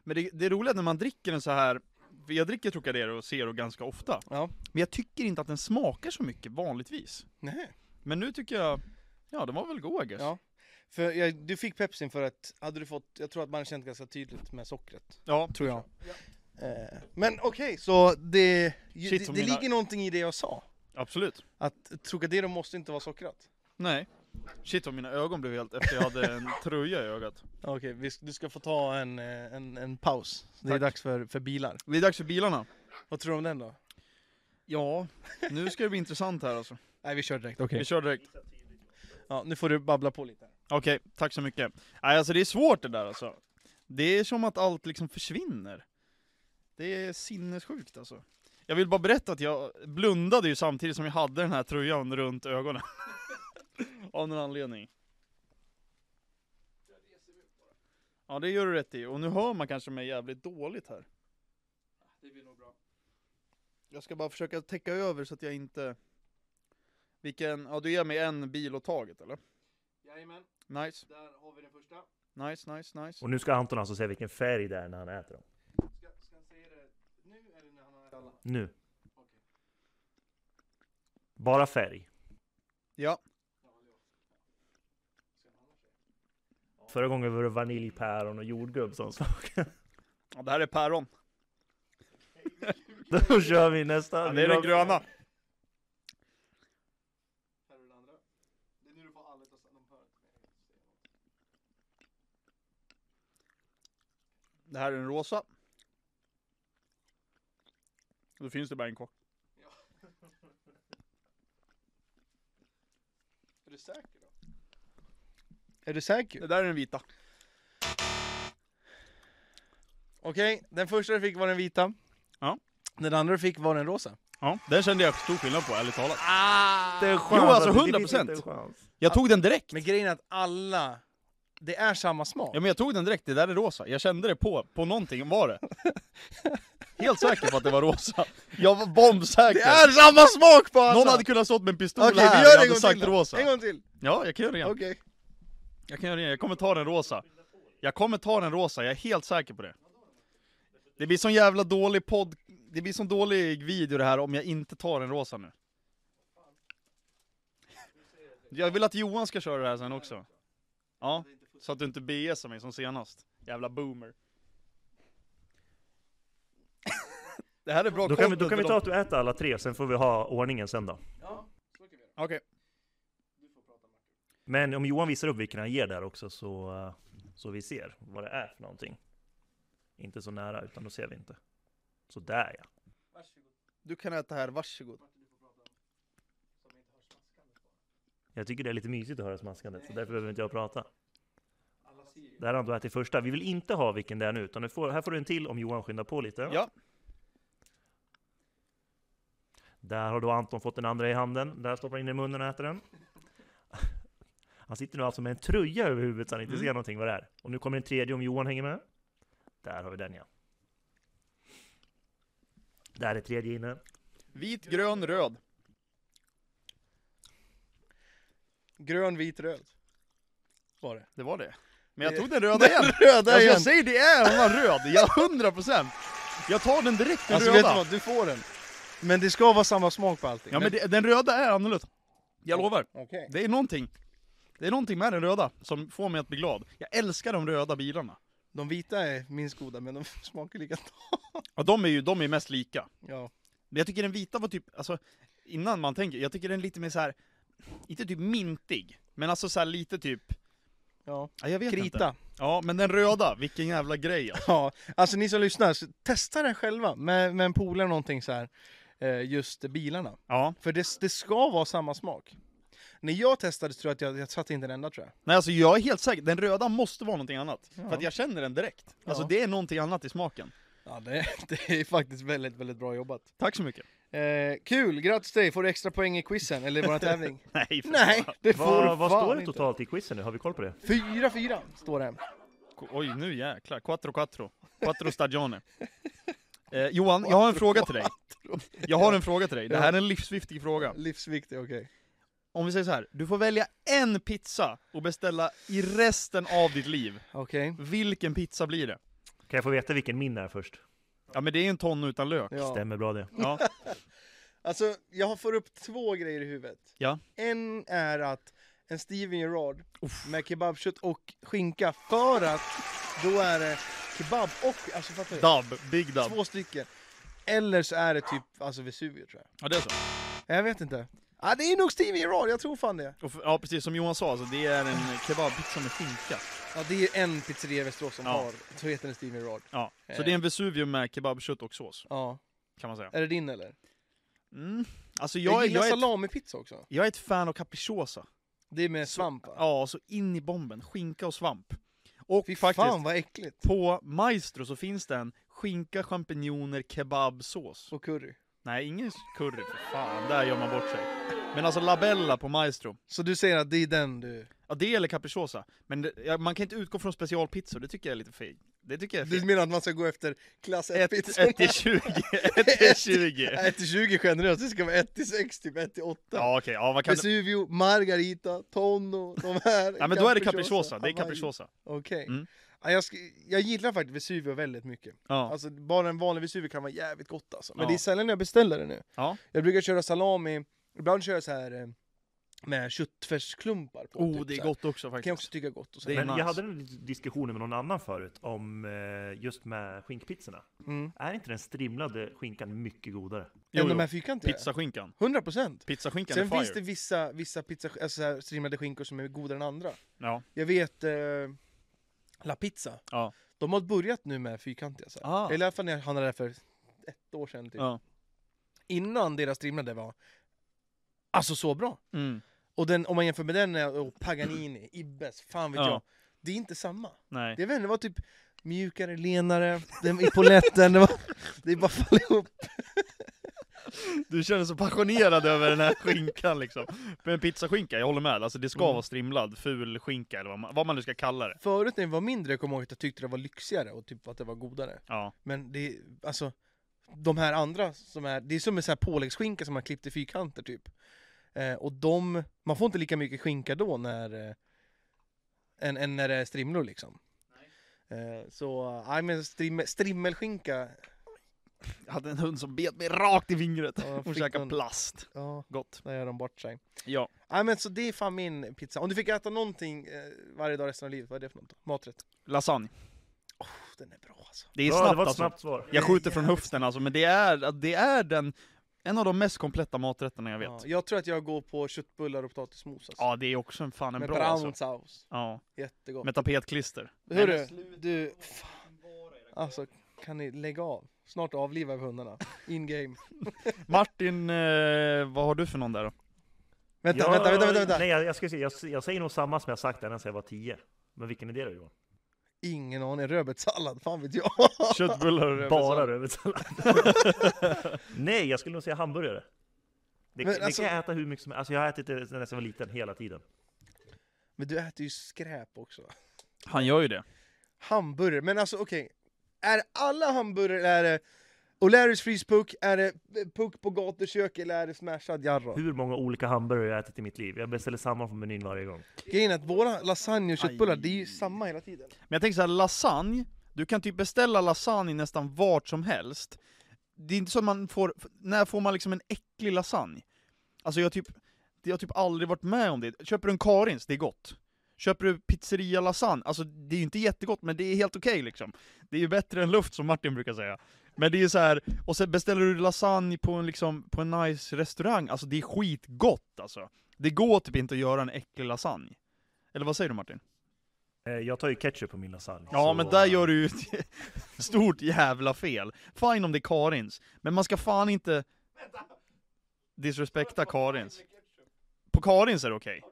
Men det, det är roligt när man dricker den så här. för Jag dricker Trocadero och Zero ganska ofta.
Ja,
Men jag tycker inte att den smakar så mycket vanligtvis.
nej.
Men nu tycker jag, ja den var väl god I guess.
Ja. För jag, du fick Pepsin för att, hade du fått, jag tror att man känt ganska tydligt med sockret.
ja.
Tror jag. Eh, men okej, så det, ju-
Shit,
det,
som
det
mina-
ligger någonting i det jag sa.
Absolut.
Att Trocadero måste inte vara sockrat.
Nej. Shit vad mina ögon blev helt efter jag hade en tröja i ögat.
Okej, vi sk- du ska få ta en, eh, en, en paus. Det är
Tack.
dags för, för bilar.
Det är dags för bilarna.
Vad tror du om den då?
Ja, nu ska det bli intressant här alltså.
Nej vi kör direkt, okej.
Vi kör direkt.
Ja, nu får du babbla på lite.
Okej, tack så mycket. Nej, alltså det är svårt det där alltså. Det är som att allt liksom försvinner. Det är sinnessjukt alltså. Jag vill bara berätta att jag blundade ju samtidigt som jag hade den här tröjan runt ögonen. Av någon anledning. Ja, det gör du rätt i. Och nu hör man kanske mig jävligt dåligt här.
Det blir nog bra.
Jag ska bara försöka täcka över så att jag inte... Vilken... Ja, du ger mig en bil åt taget, eller?
Jajamän,
Nice,
där har vi den första.
nice, nice, nice.
Och nu ska Anton alltså säga vilken färg det är när han äter dem.
Ska, ska han säga det nu eller när han har alla?
Nu.
Okej.
Bara färg.
Ja,
Förra gången var det vaniljpäron och jordgubb som smak.
ja det här är päron.
Då kör vi nästa.
Ja, det är det gröna.
Här är den andra. Det är nu du får alla att de hör.
Det här är den rosa. Då finns det bara en kvar.
Är du säker då? Är du säker?
Det där är den vita.
Okej, den första du fick var den vita.
Ja.
Den andra du fick var den rosa.
Ja, den kände jag stor skillnad på, ärligt talat.
Det är en chans
Jo, alltså
att det
100%.
finns inte en chans.
Jag tog den direkt.
Men grejen är att alla Det är samma smak.
Ja men jag tog den direkt, det där är rosa. Jag kände det på, på någonting var det. Helt säker på att det var rosa. Jag var bombsäker.
Det är samma smak på alla!
Någon hade kunnat stått med en pistol
Okej,
här
vi gör
jag
det en
hade
gång
sagt
till då.
rosa.
En gång till!
Ja, jag kan göra det igen.
Okej.
Jag kan göra det igen. Jag kommer ta den rosa. Jag kommer ta den rosa, jag är helt säker på det. Det blir sån jävla dålig podd... Det blir sån dålig video det här om jag inte tar den rosa nu. Jag vill att Johan ska köra det här sen också. Ja, så att du inte BSar mig som senast. Jävla boomer. Det här är bra
Då kan, vi, då
content
kan vi
för
ta
dem.
att du äter alla tre, sen får vi ha ordningen sen då.
Okej.
Men om Johan visar upp vilken han ger där också så, eh, så vi ser vad det är för någonting. Inte så nära, utan då ser vi inte. Så där ja.
Du kan äta här, varsågod.
Jag tycker det är lite mysigt att höra smaskandet, så därför behöver inte jag prata. Det här har du ätit första. Vi vill inte ha vilken det är nu, utan du får, här får du en till om Johan skyndar på lite.
Ja.
Där har då Anton fått den andra i handen. Där stoppar han in den i munnen och äter den. Han sitter nu alltså med en tröja över huvudet så han inte
Mm.
ser någonting vad det är. Och nu kommer den tredje om Johan hänger med. Där har vi den ja. Där är tredje inne.
Vit, grön, röd.
Grön, vit, röd. Var det.
Det var det. Men jag
Det-
tog den röda igen.
Röda
Alltså,
igen!
jag säger det är han var röd, jag hundra procent! Jag tar den direkt, den
Alltså vet du
röda.
vad, du får den. Men det ska vara samma smak på allting.
Ja men det, den röda är annorlunda. Jag lovar.
Okej.
Det är någonting. Det är någonting med den röda som får mig att bli glad. Jag älskar de röda bilarna.
De vita är minst goda, men de smakar likadant.
Ja, de är ju de är mest lika.
Ja.
Men jag tycker den vita var typ, alltså, innan man tänker, jag tycker den är lite mer så här. inte typ mintig, men alltså så här lite typ,
ja.
ja, jag vet inte.
Krita.
Ja, men den röda, vilken jävla grej alltså.
Ja, alltså ni som lyssnar, så testa den själva med, med en polare eller någonting så här. eh, Just bilarna.
Ja,
För det, det ska vara samma smak. När jag testade tror jag att jag, jag satte inte en enda tror jag.
nej alltså jag är helt säker, den röda måste vara någonting annat. För
Ja.
att jag känner den direkt. Alltså
Ja.
det är någonting annat i smaken.
Ja, det, det är faktiskt väldigt, väldigt bra jobbat.
Tack så mycket.
Eh, kul, grattis till dig! Får du extra poäng i quizen, eller i vår tävling?
Nej, för
Nej,
fan.
det får du
Vad, vad
fan
står det
inte.
totalt i quizen nu? Har vi koll på det?
4-4 står det.
Ko- Oj, nu jäklar. Quattro, quattro. Quattro stagione. Eh, Johan, jag har en fråga till dig. Jag har en fråga till dig. Det här är en livsviktig fråga.
Livsviktig, okej.
Om vi säger så här, du får välja en pizza och beställa i resten av ditt liv.
Okej.
Vilken pizza blir det?
Kan jag få veta vilken min är först?
Ja men det är en ton utan lök.
Ja.
Stämmer bra det.
Ja,
Alltså, jag får upp två grejer i huvudet.
ja.
En är att en Steven Gerrard med kebabkött och skinka för att då är det kebab och, alltså fattar du?
Dub, big dub.
Två stycken. Eller så är det typ, alltså Vesuvio tror jag.
Ja det är så.
Jag vet inte. Ja, det är nog Steven Gerrard, jag tror fan det.
Och för, ja precis som Johan sa, alltså, det är en kebabpizza med skinka.
Ja, det är en pizzeria i Västerås som
Ja.
har, så heter den Steven Gerrard.
Ja. Så det är en Vesuvio med kebabkött och sås,
Ja.
kan man säga.
Är det din eller?
Mm. Alltså
Eh, Jag,
jag, är-
gillar
jag, är, ett,
salamipizza också.
jag är ett fan av capricciosa.
Det är med
Så-
svamp va?
Ja, så in i bomben. Skinka och svamp. Och
Fy
faktiskt,
fan vad äckligt.
på Maestro så finns det en skinka, champinjoner, kebabsås.
Och curry.
Nej, ingen curry för fan. Där gör man bort sig. Men alltså Labella på Maestro.
Så du säger att det är den du...
Ja, det eller capricciosa. Men det, ja, man kan inte utgå från specialpizzor, det tycker jag är lite feg. Det tycker jag är
Du
fel.
menar att man ska gå efter klass 1-pizzorna?
1 till 20. 1 till 20.
1-20 generöst, det ska vara 1-6 typ, 1-8.
Ja, okej. Ja, vad kan du...
Vesuvio, Margarita, Tonno, de här.
Ja, men då är det
Capricciosa,
capricciosa. Det är
Hawaii.
capricciosa.
Okej.
Mm.
Ja, jag, sk- jag gillar faktiskt Vesuvio väldigt mycket.
Ja.
Alltså bara en vanlig Vesuvio kan vara jävligt gott alltså. Men
Ja.
det är sällan jag beställer det nu.
Ja.
Jag brukar köra salami, ibland kör jag så här eh, med köttfärsklumpar på.
Oh,
typ
det
så
är
här.
gott också
Kan jag
faktiskt.
också tycka är gott. Och så.
Det är
Men
nice.
jag hade en diskussion med någon annan förut om eh, just med skinkpizzorna.
Mm.
Är inte den strimlade skinkan mycket godare?
Jo,
Än de
jo.
här fyrkantiga.
Pizzaskinkan.
100 procent.
Pizzaskinkan
Sen
är fire.
finns det vissa, vissa pizza, alltså så här, streamade skinkor som är godare än andra.
Ja.
Jag vet eh, La Pizza.
Ja.
De har börjat nu med fyrkantiga. Så här.
Ah.
Eller i alla fall när jag handlade där för ett år sedan. Typ.
Ja.
Innan deras streamade var alltså så bra.
Mm.
Och den, om man jämför med den eh, och Paganini, Ibbes, fan vet
Ja.
jag. Det är inte samma.
Nej.
Det, jag vet inte, det var typ mjukare, lenare, den i polletten, det, var, det bara föll ihop.
Du känner så passionerad över den här skinkan liksom. Men pizzaskinka, jag håller med. Alltså det ska
Mm.
vara strimlad, ful skinka eller vad man, vad man nu ska kalla det.
Förut när vi var mindre kommer jag ihåg att jag tyckte det var lyxigare och typ att det var godare.
Ja.
Men det, alltså, de här andra som är, det är som en sån här påläggsskinka som man klippt i fyrkanter typ. Eh, och de, man får inte lika mycket skinka då när, eh, än, än när det är strimlor liksom. Eh, så, nej men strimme, strimmelskinka,
Jag hade en hund som bet mig rakt i fingret.
Ja,
Hon
fick
käkade
hon.
plast.
ja,
Gott.
där gör de bort sig.
Ja.
Nej men så det är fan min pizza. Om du fick äta någonting eh, varje dag resten av livet, vad är det för något då? Maträtt?
Lasagne.
Pff, den är bra alltså.
Det är
Bra,
snabbt
det var ett
alltså.
snabbt svar.
Jag skjuter från höften alltså, men det är, det är den, en av de mest kompletta maträtterna jag vet.
Ja,
Ja,
jag tror att jag går på köttbullar och potatismos alltså.
det är också en fan en
Med
bra
brown
alltså.
sauce,
Ja,
jättegott.
med tapetklister.
Hörru, du... fan. Alltså, kan ni lägga av? Snart avlivar vi hundarna. In game.
Martin, eh, vad har du för någon där då?
Vänta,
Jag-
vänta, vänta, vänta, vänta.
Nej, jag, jag, ska se, jag, jag säger nog samma som jag sagt ända sedan jag var 10. Men vilken är det då Johan?
Ingen aning. Rödbetssallad, fan vet jag.
Köttbullar och rödbetssallad.
Bara rödbetssallad. Nej, jag skulle nog säga hamburgare. Det,
Men
det
alltså-
kan jag äta hur mycket som helst. Alltså jag har ätit det sedan jag var liten, hela tiden.
Men du äter ju skräp också.
Han gör ju det.
Hamburgare, men alltså okej. Är alla hamburgare, är det O'Larrys frispuck, är det puck på gatukök eller är det smashad jarro?
Hur många olika hamburgare jag har ätit i mitt liv. Jag beställer samma från menyn varje gång.
Grejen är att våra lasagne och köttbullar,
Aj.
det är ju samma hela tiden.
Men jag tänker så här, lasagne, du kan typ beställa lasagne nästan vart som helst. Det är inte så att man får, när får man liksom en äcklig lasagne? Alltså jag har typ, jag har typ aldrig varit med om det. Köper du en Karins, det är gott. Köper du pizzeria lasagne, alltså det är ju inte jättegott men det är helt okej liksom. Det är ju bättre än luft som Martin brukar säga. Men det är så här, och sen beställer du lasagne på en, liksom, på en nice restaurang, alltså det är skitgott alltså. Det går typ inte att göra en äcklig lasagne. Eller vad säger du Martin?
Eh, Jag tar ju ketchup på min lasagne.
Ja men där gör du ju ett stort jävla fel. Fine om det är Karins, men man ska fan inte disrespekta Karins. På Karins är det okej.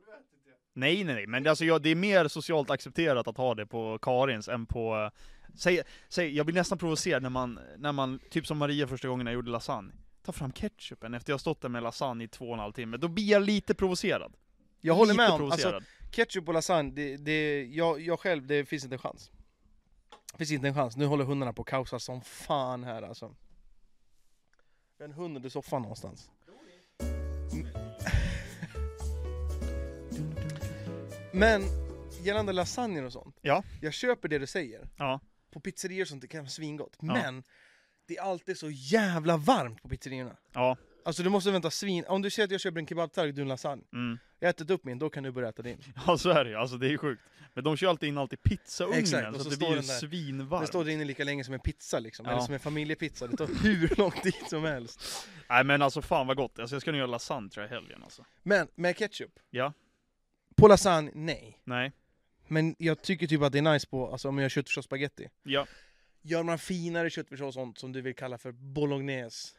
Nej nej nej, men alltså, jag, det är mer socialt accepterat att ha det på Karins än på... eh, Säg, säg, jag blir nästan provocerad när man, när man, typ som Maria första gången jag gjorde lasagne. Ta fram ketchupen efter jag har stått där med lasagne i två och en halv timme, då blir jag lite provocerad.
Jag håller
lite
med om, alltså,
provocerad.
Ketchup och lasagne, det, det, jag, jag själv, det finns inte en chans. Det finns inte en chans. Nu håller hundarna på att kaosa som fan här alltså. Vi har en hund under soffan någonstans. Mm. Men gällande lasagne och sånt.
Ja.
Jag köper det du säger.
Ja.
På pizzerior och sånt det kan vara svingott.
Ja.
Men det är alltid så jävla varmt på pizzeriorna.
Ja,
Alltså du måste vänta svin... Om du säger att jag köper en kebabtallrik, du en lasagne.
mm.
Jag har ätit upp min, då kan du börja äta din.
Ja så är det ju, alltså det är sjukt. Men de kör alltid in allt i pizzaugnen
Exakt, och
så,
så
det
står
blir ju
den där. Den
svinvarmt.
står där inne lika länge som en pizza liksom,
Ja.
eller som en familjepizza. Det tar hur lång tid som helst.
Nej men alltså fan vad gott, alltså, jag ska nog göra lasagne tror jag i helgen alltså.
Men med ketchup?
Ja.
På lasagne, nej.
Nej,
Men jag tycker typ att det är nice på, alltså om jag gör köttfärssås och spagetti.
ja.
Gör man finare köttfärssås och sånt som du vill kalla för bolognese,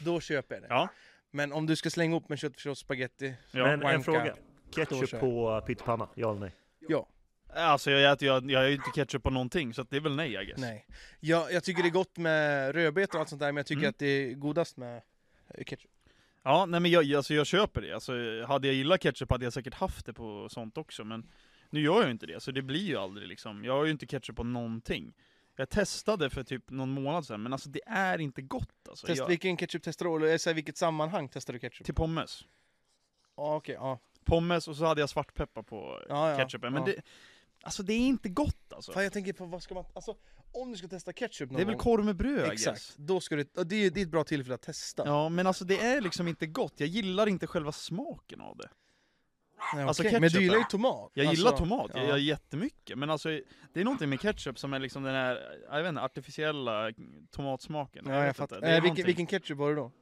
då köper jag det.
Ja.
Men om du ska slänga upp med köttfärssås och spagetti,
ja.
Men
wanka.
en fråga.
Då
Ketchup
kör jag.
på pyttipanna, ja eller nej?
ja,
Alltså jag äter jag, jag är ju inte ketchup på någonting så att det är väl nej I guess.
nej. Jag, jag tycker det är gott med rödbetor och allt sånt där, men jag tycker
Mm.
att det är godast med eh, ketchup.
Ja nej men jag, alltså, jag köper det, alltså, hade jag gillat ketchup hade jag säkert haft det på sånt också men nu gör jag ju inte det så det blir ju aldrig liksom, jag har ju inte ketchup på någonting. Jag testade för typ någon månad sedan men alltså det är inte gott alltså.
Test,
jag, Typ-
Vilken ketchup testar du? Eller så här, vilket sammanhang testar du ketchup?
till pommes.
Ja, okej, ja.
Pommes och så hade jag svartpeppar på
Ja, ja,
ketchupen men
ja.
det, alltså det är inte gott alltså.
Fan jag tänker på vad ska man, alltså om du ska testa ketchup någon
Det är väl
gång,
korv med bröd? I
Exakt,
guess.
då ska du, och det är, det är ett bra tillfälle att testa.
Ja, men alltså det är liksom inte gott. Jag gillar inte själva smaken av det.
Nej,
alltså,
okej.
ketchup
Men du gillar ju
är-
tomat.
Jag
alltså,
gillar tomat, jag
ja.
gillar jättemycket. Men alltså, det är någonting med ketchup som är liksom den här, jag vet inte, artificiella tomatsmaken.
Ja, jag
vet
fattar.
inte. Det,
Eh,
är
vilken,
någonting.
vilken ketchup var det då?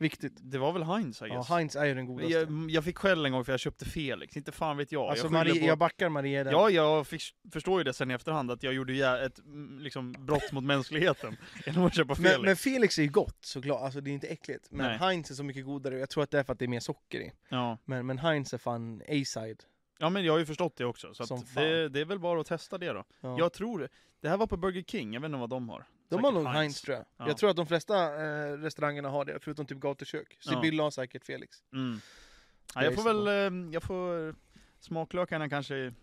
Viktigt.
det var väl Heinz, I
Ja,
guess.
Heinz är ju den godaste.
jag, jag fick skäll en gång för jag köpte Felix, inte fan vet jag.
alltså
jag
jag,
skyller
Maria,
på-
jag backar Maria där.
Ja, jag fick- förstår ju det sen i efterhand, att jag gjorde ju ett mm, liksom, brott mot mänskligheten genom att köpa Felix.
men, men Felix är ju gott såklart, alltså det är inte äckligt. Men
Nej.
Heinz är så mycket godare, jag tror att det är för att det är mer socker i.
Ja.
Men, men Heinz är fan A-side.
Ja men jag har ju förstått det också, så
Som
att
fan.
det, det är väl bara att testa det då.
Ja.
Jag tror, det här var på Burger King, jag vet inte vad de har.
De har
Säkert
nog
Heinz.
Heinz tror jag.
Ja.
Jag tror att de flesta eh, restaurangerna har det, förutom typ gatukök.
Ja.
Sibylla har säkert liksom. Felix.
Mm. Ja,
Jag
jag får
gissar
väl, eh, jag får, smaklökarna kanske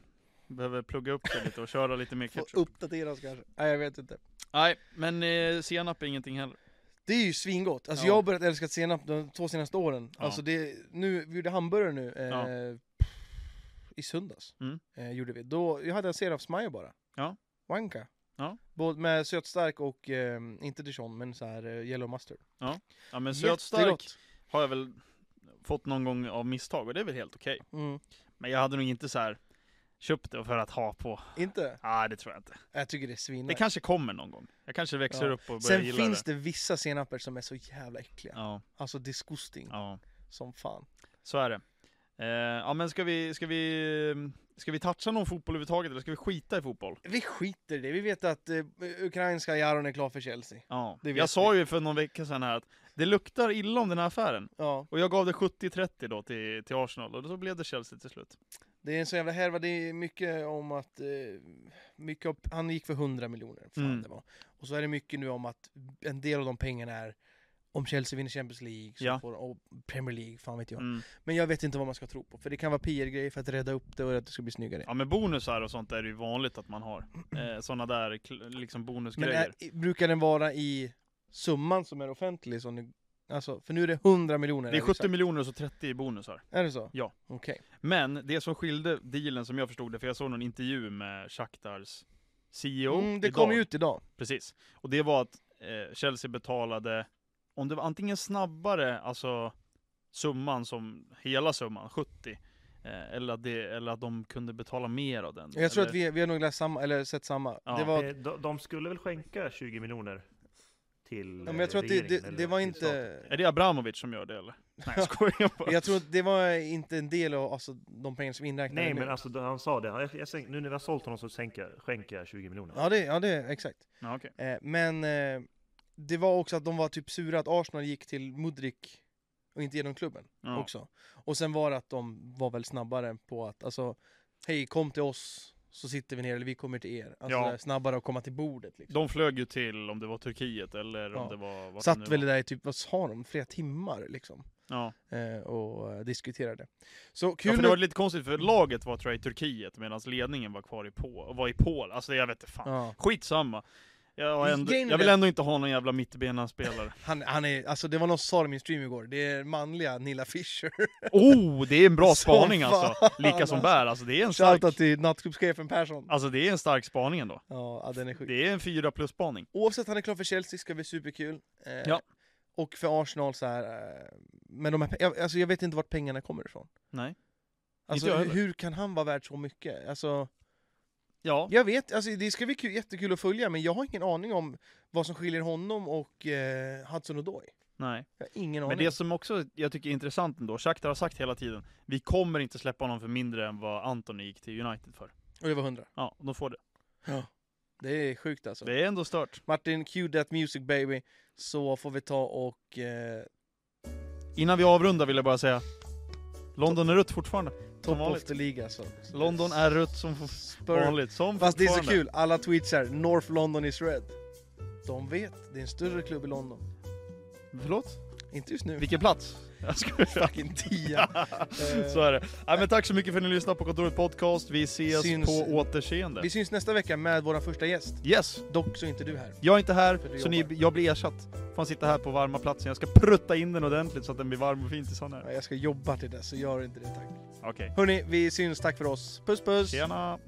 behöver plugga upp sig lite och köra lite mer
Får
ketchup.
uppdateras kanske. Nej jag vet inte.
Nej, men eh, senap är ingenting heller.
Det är ju svingott. Alltså
Ja.
jag har börjat älska senap de två senaste åren.
Ja.
Alltså det, nu, vi gjorde hamburgare nu. Eh,
Ja.
I söndags.
Mm.
Eh, gjorde vi. Då, jag hade en senapsmajo bara.
Ja.
Wanka.
Ja.
Både med sötstark och, eh, inte dijon, men så här eh, yellow mustard.
Ja men sötstark
Jättegott.
har jag väl fått någon gång av misstag och det är väl helt okej.
Mm.
Men jag hade nog inte så här köpt det för att ha på.
Inte?
Nej, det tror jag inte.
Jag tycker det är
Det
svinnice.
kanske kommer någon gång. Jag kanske växer
Ja.
upp och börjar
Sen
gilla
finns
det.
det. vissa senaper som är så jävla äckliga.
Ja,
Alltså disgusting
ja,
som fan.
så är det. Eh, ja men ska vi, ska vi, ska vi toucha någon fotboll överhuvudtaget eller ska vi skita i fotboll?
Vi skiter i det, vi vet att eh, ukrainska Jaron är klar för Chelsea.
Ja,
Det vet
jag sa ju för någon vecka sedan här att det luktar illa om den här affären.
Ja,
Och jag gav det 70-30 då till, till Arsenal och så blev det Chelsea till slut.
det är en så jävla härva, det är mycket om att... Eh, mycket av, han gick för 100 miljoner, fan
Mm.
det var. Och så är det mycket nu om att en del av de pengarna är om Chelsea vinner Champions League, så
Ja.
får, och Premier League, fan vet jag.
Mm.
Men jag vet inte vad man ska tro på, för det kan vara PR-grejer för att rädda upp det och att det ska bli snyggare.
Ja men bonusar och sånt är det ju vanligt att man har. Eh, såna där kl- liksom
Men
bonusgrejer.
är, brukar den vara i summan som är offentlig? Som ni, alltså, för nu är det 100 miljoner.
Det är
har vi
70
sagt.
miljoner och så 30 i bonusar.
Är det så?
Ja.
Okej.
Men det som skilde dealen som jag förstod det, för jag såg någon intervju med Shakhtars CEO
Mm, det
idag.
kom ju ut idag.
Precis. Och det var att eh, Chelsea betalade, om det var antingen snabbare, alltså summan som, hela summan, 70, eh, eller, att det, eller att de kunde betala mer av den.
Jag tror
eller,
att vi, vi har nog läst samma, eller sett samma.
Ja,
det var,
Eh, De, de skulle väl skänka 20 miljoner till eh,
ja, men jag tror att det, det, det var inte...
Är det Abramovic som gör det eller? Nej jag skojar bara.
Jag tror att det var inte en del av alltså, de pengar som är inräknade
Nej,
nu.
men alltså han sa det. Jag, jag, sänk- nu när vi har sålt honom så sänka, skänker jag 20 miljoner.
Ja, det, ja det, exakt.
Ja, okej.
Eh, men eh, det var också att de var typ sura att Arsenal gick till Mudrik och inte genom klubben
Ja.
också. Och sen var det att de var väl snabbare på att, alltså, hej kom till oss så sitter vi ner, eller vi kommer till er. Alltså
Ja.
det är snabbare att komma till bordet liksom.
De flög ju till, om det var Turkiet eller om
Ja.
det var... vart det
Satt
nu
väl
var.
där i typ, vad sa de, flera timmar liksom.
Ja.
Eh, och eh, diskuterade. Så
ja,
kul
för det
att-
var lite konstigt för laget var tror jag i Turkiet medan ledningen var kvar i Pol, var i Polen. Alltså jag vet inte fan.
Ja.
Skitsamma. Jag, har ändå,
Grejen är
jag vill
det-
ändå inte ha någon jävla mittbena-spelare.
Han, han är, alltså det var någon som sa det i min stream igår, det är manliga Nilla Fischer.
Oh, det är en bra
Som
spaning
fan,
alltså! Lika som bär, alltså det är en
Shoutout
stark,
till nattclubschefen Persson.
alltså, det är en stark spaning ändå.
Ja, ja, den är sjuk.
Det är en 4 plus spaning.
Oavsett, han är klar för Chelsea, ska bli superkul. Eh,
Ja.
Och för Arsenal så här, eh, men de här, pe- jag, alltså jag vet inte vart pengarna kommer ifrån.
Nej.
Alltså
jag
hur,
heller.
hur kan han vara värd så mycket? Alltså,
Ja,
jag vet, alltså det ska bli kul, jättekul att följa, men jag har ingen aning om vad som skiljer honom och eh, Hudson Odoi.
nej.
Jag har ingen
Men
aning.
det som också jag tycker är intressant ändå, Shakhtar har sagt hela tiden, vi kommer inte släppa honom för mindre än vad Antoni gick till United för.
Och det var 100.
Ja, de får det.
Det är sjukt alltså.
Det är ändå stört.
Martin, cue that music baby, så får vi ta och eh,
Innan vi avrundar vill jag bara säga, London är rött fortfarande.
Top of
vanligt.
the League alltså.
London är rött som f-
Spur-
vanligt. Som
Fast det är så
fortfarande.
kul, alla tweets här, North London is red. De vet, det är en större klubb i London.
Förlåt?
Inte just nu.
Vilken plats? Jag skojar.
Vilken tia. Eh,
Så är det. Ja, men tack så mycket för att ni lyssnade på Kontoret Podcast. Vi ses
Syns-
på återseende.
Vi syns nästa vecka med vår första gäst.
Yes!
Dock så är inte du här.
Jag är inte här,
För du
så ni,
jobbar.
jag blir ersatt. Fan sitta här på varma platsen. Jag ska prutta in den ordentligt så att den blir varm och fin tills han är
Ja, Jag ska jobba till det, så gör inte det tack.
Okej,
Hörni, vi syns, tack för oss. Puss puss!
tjena!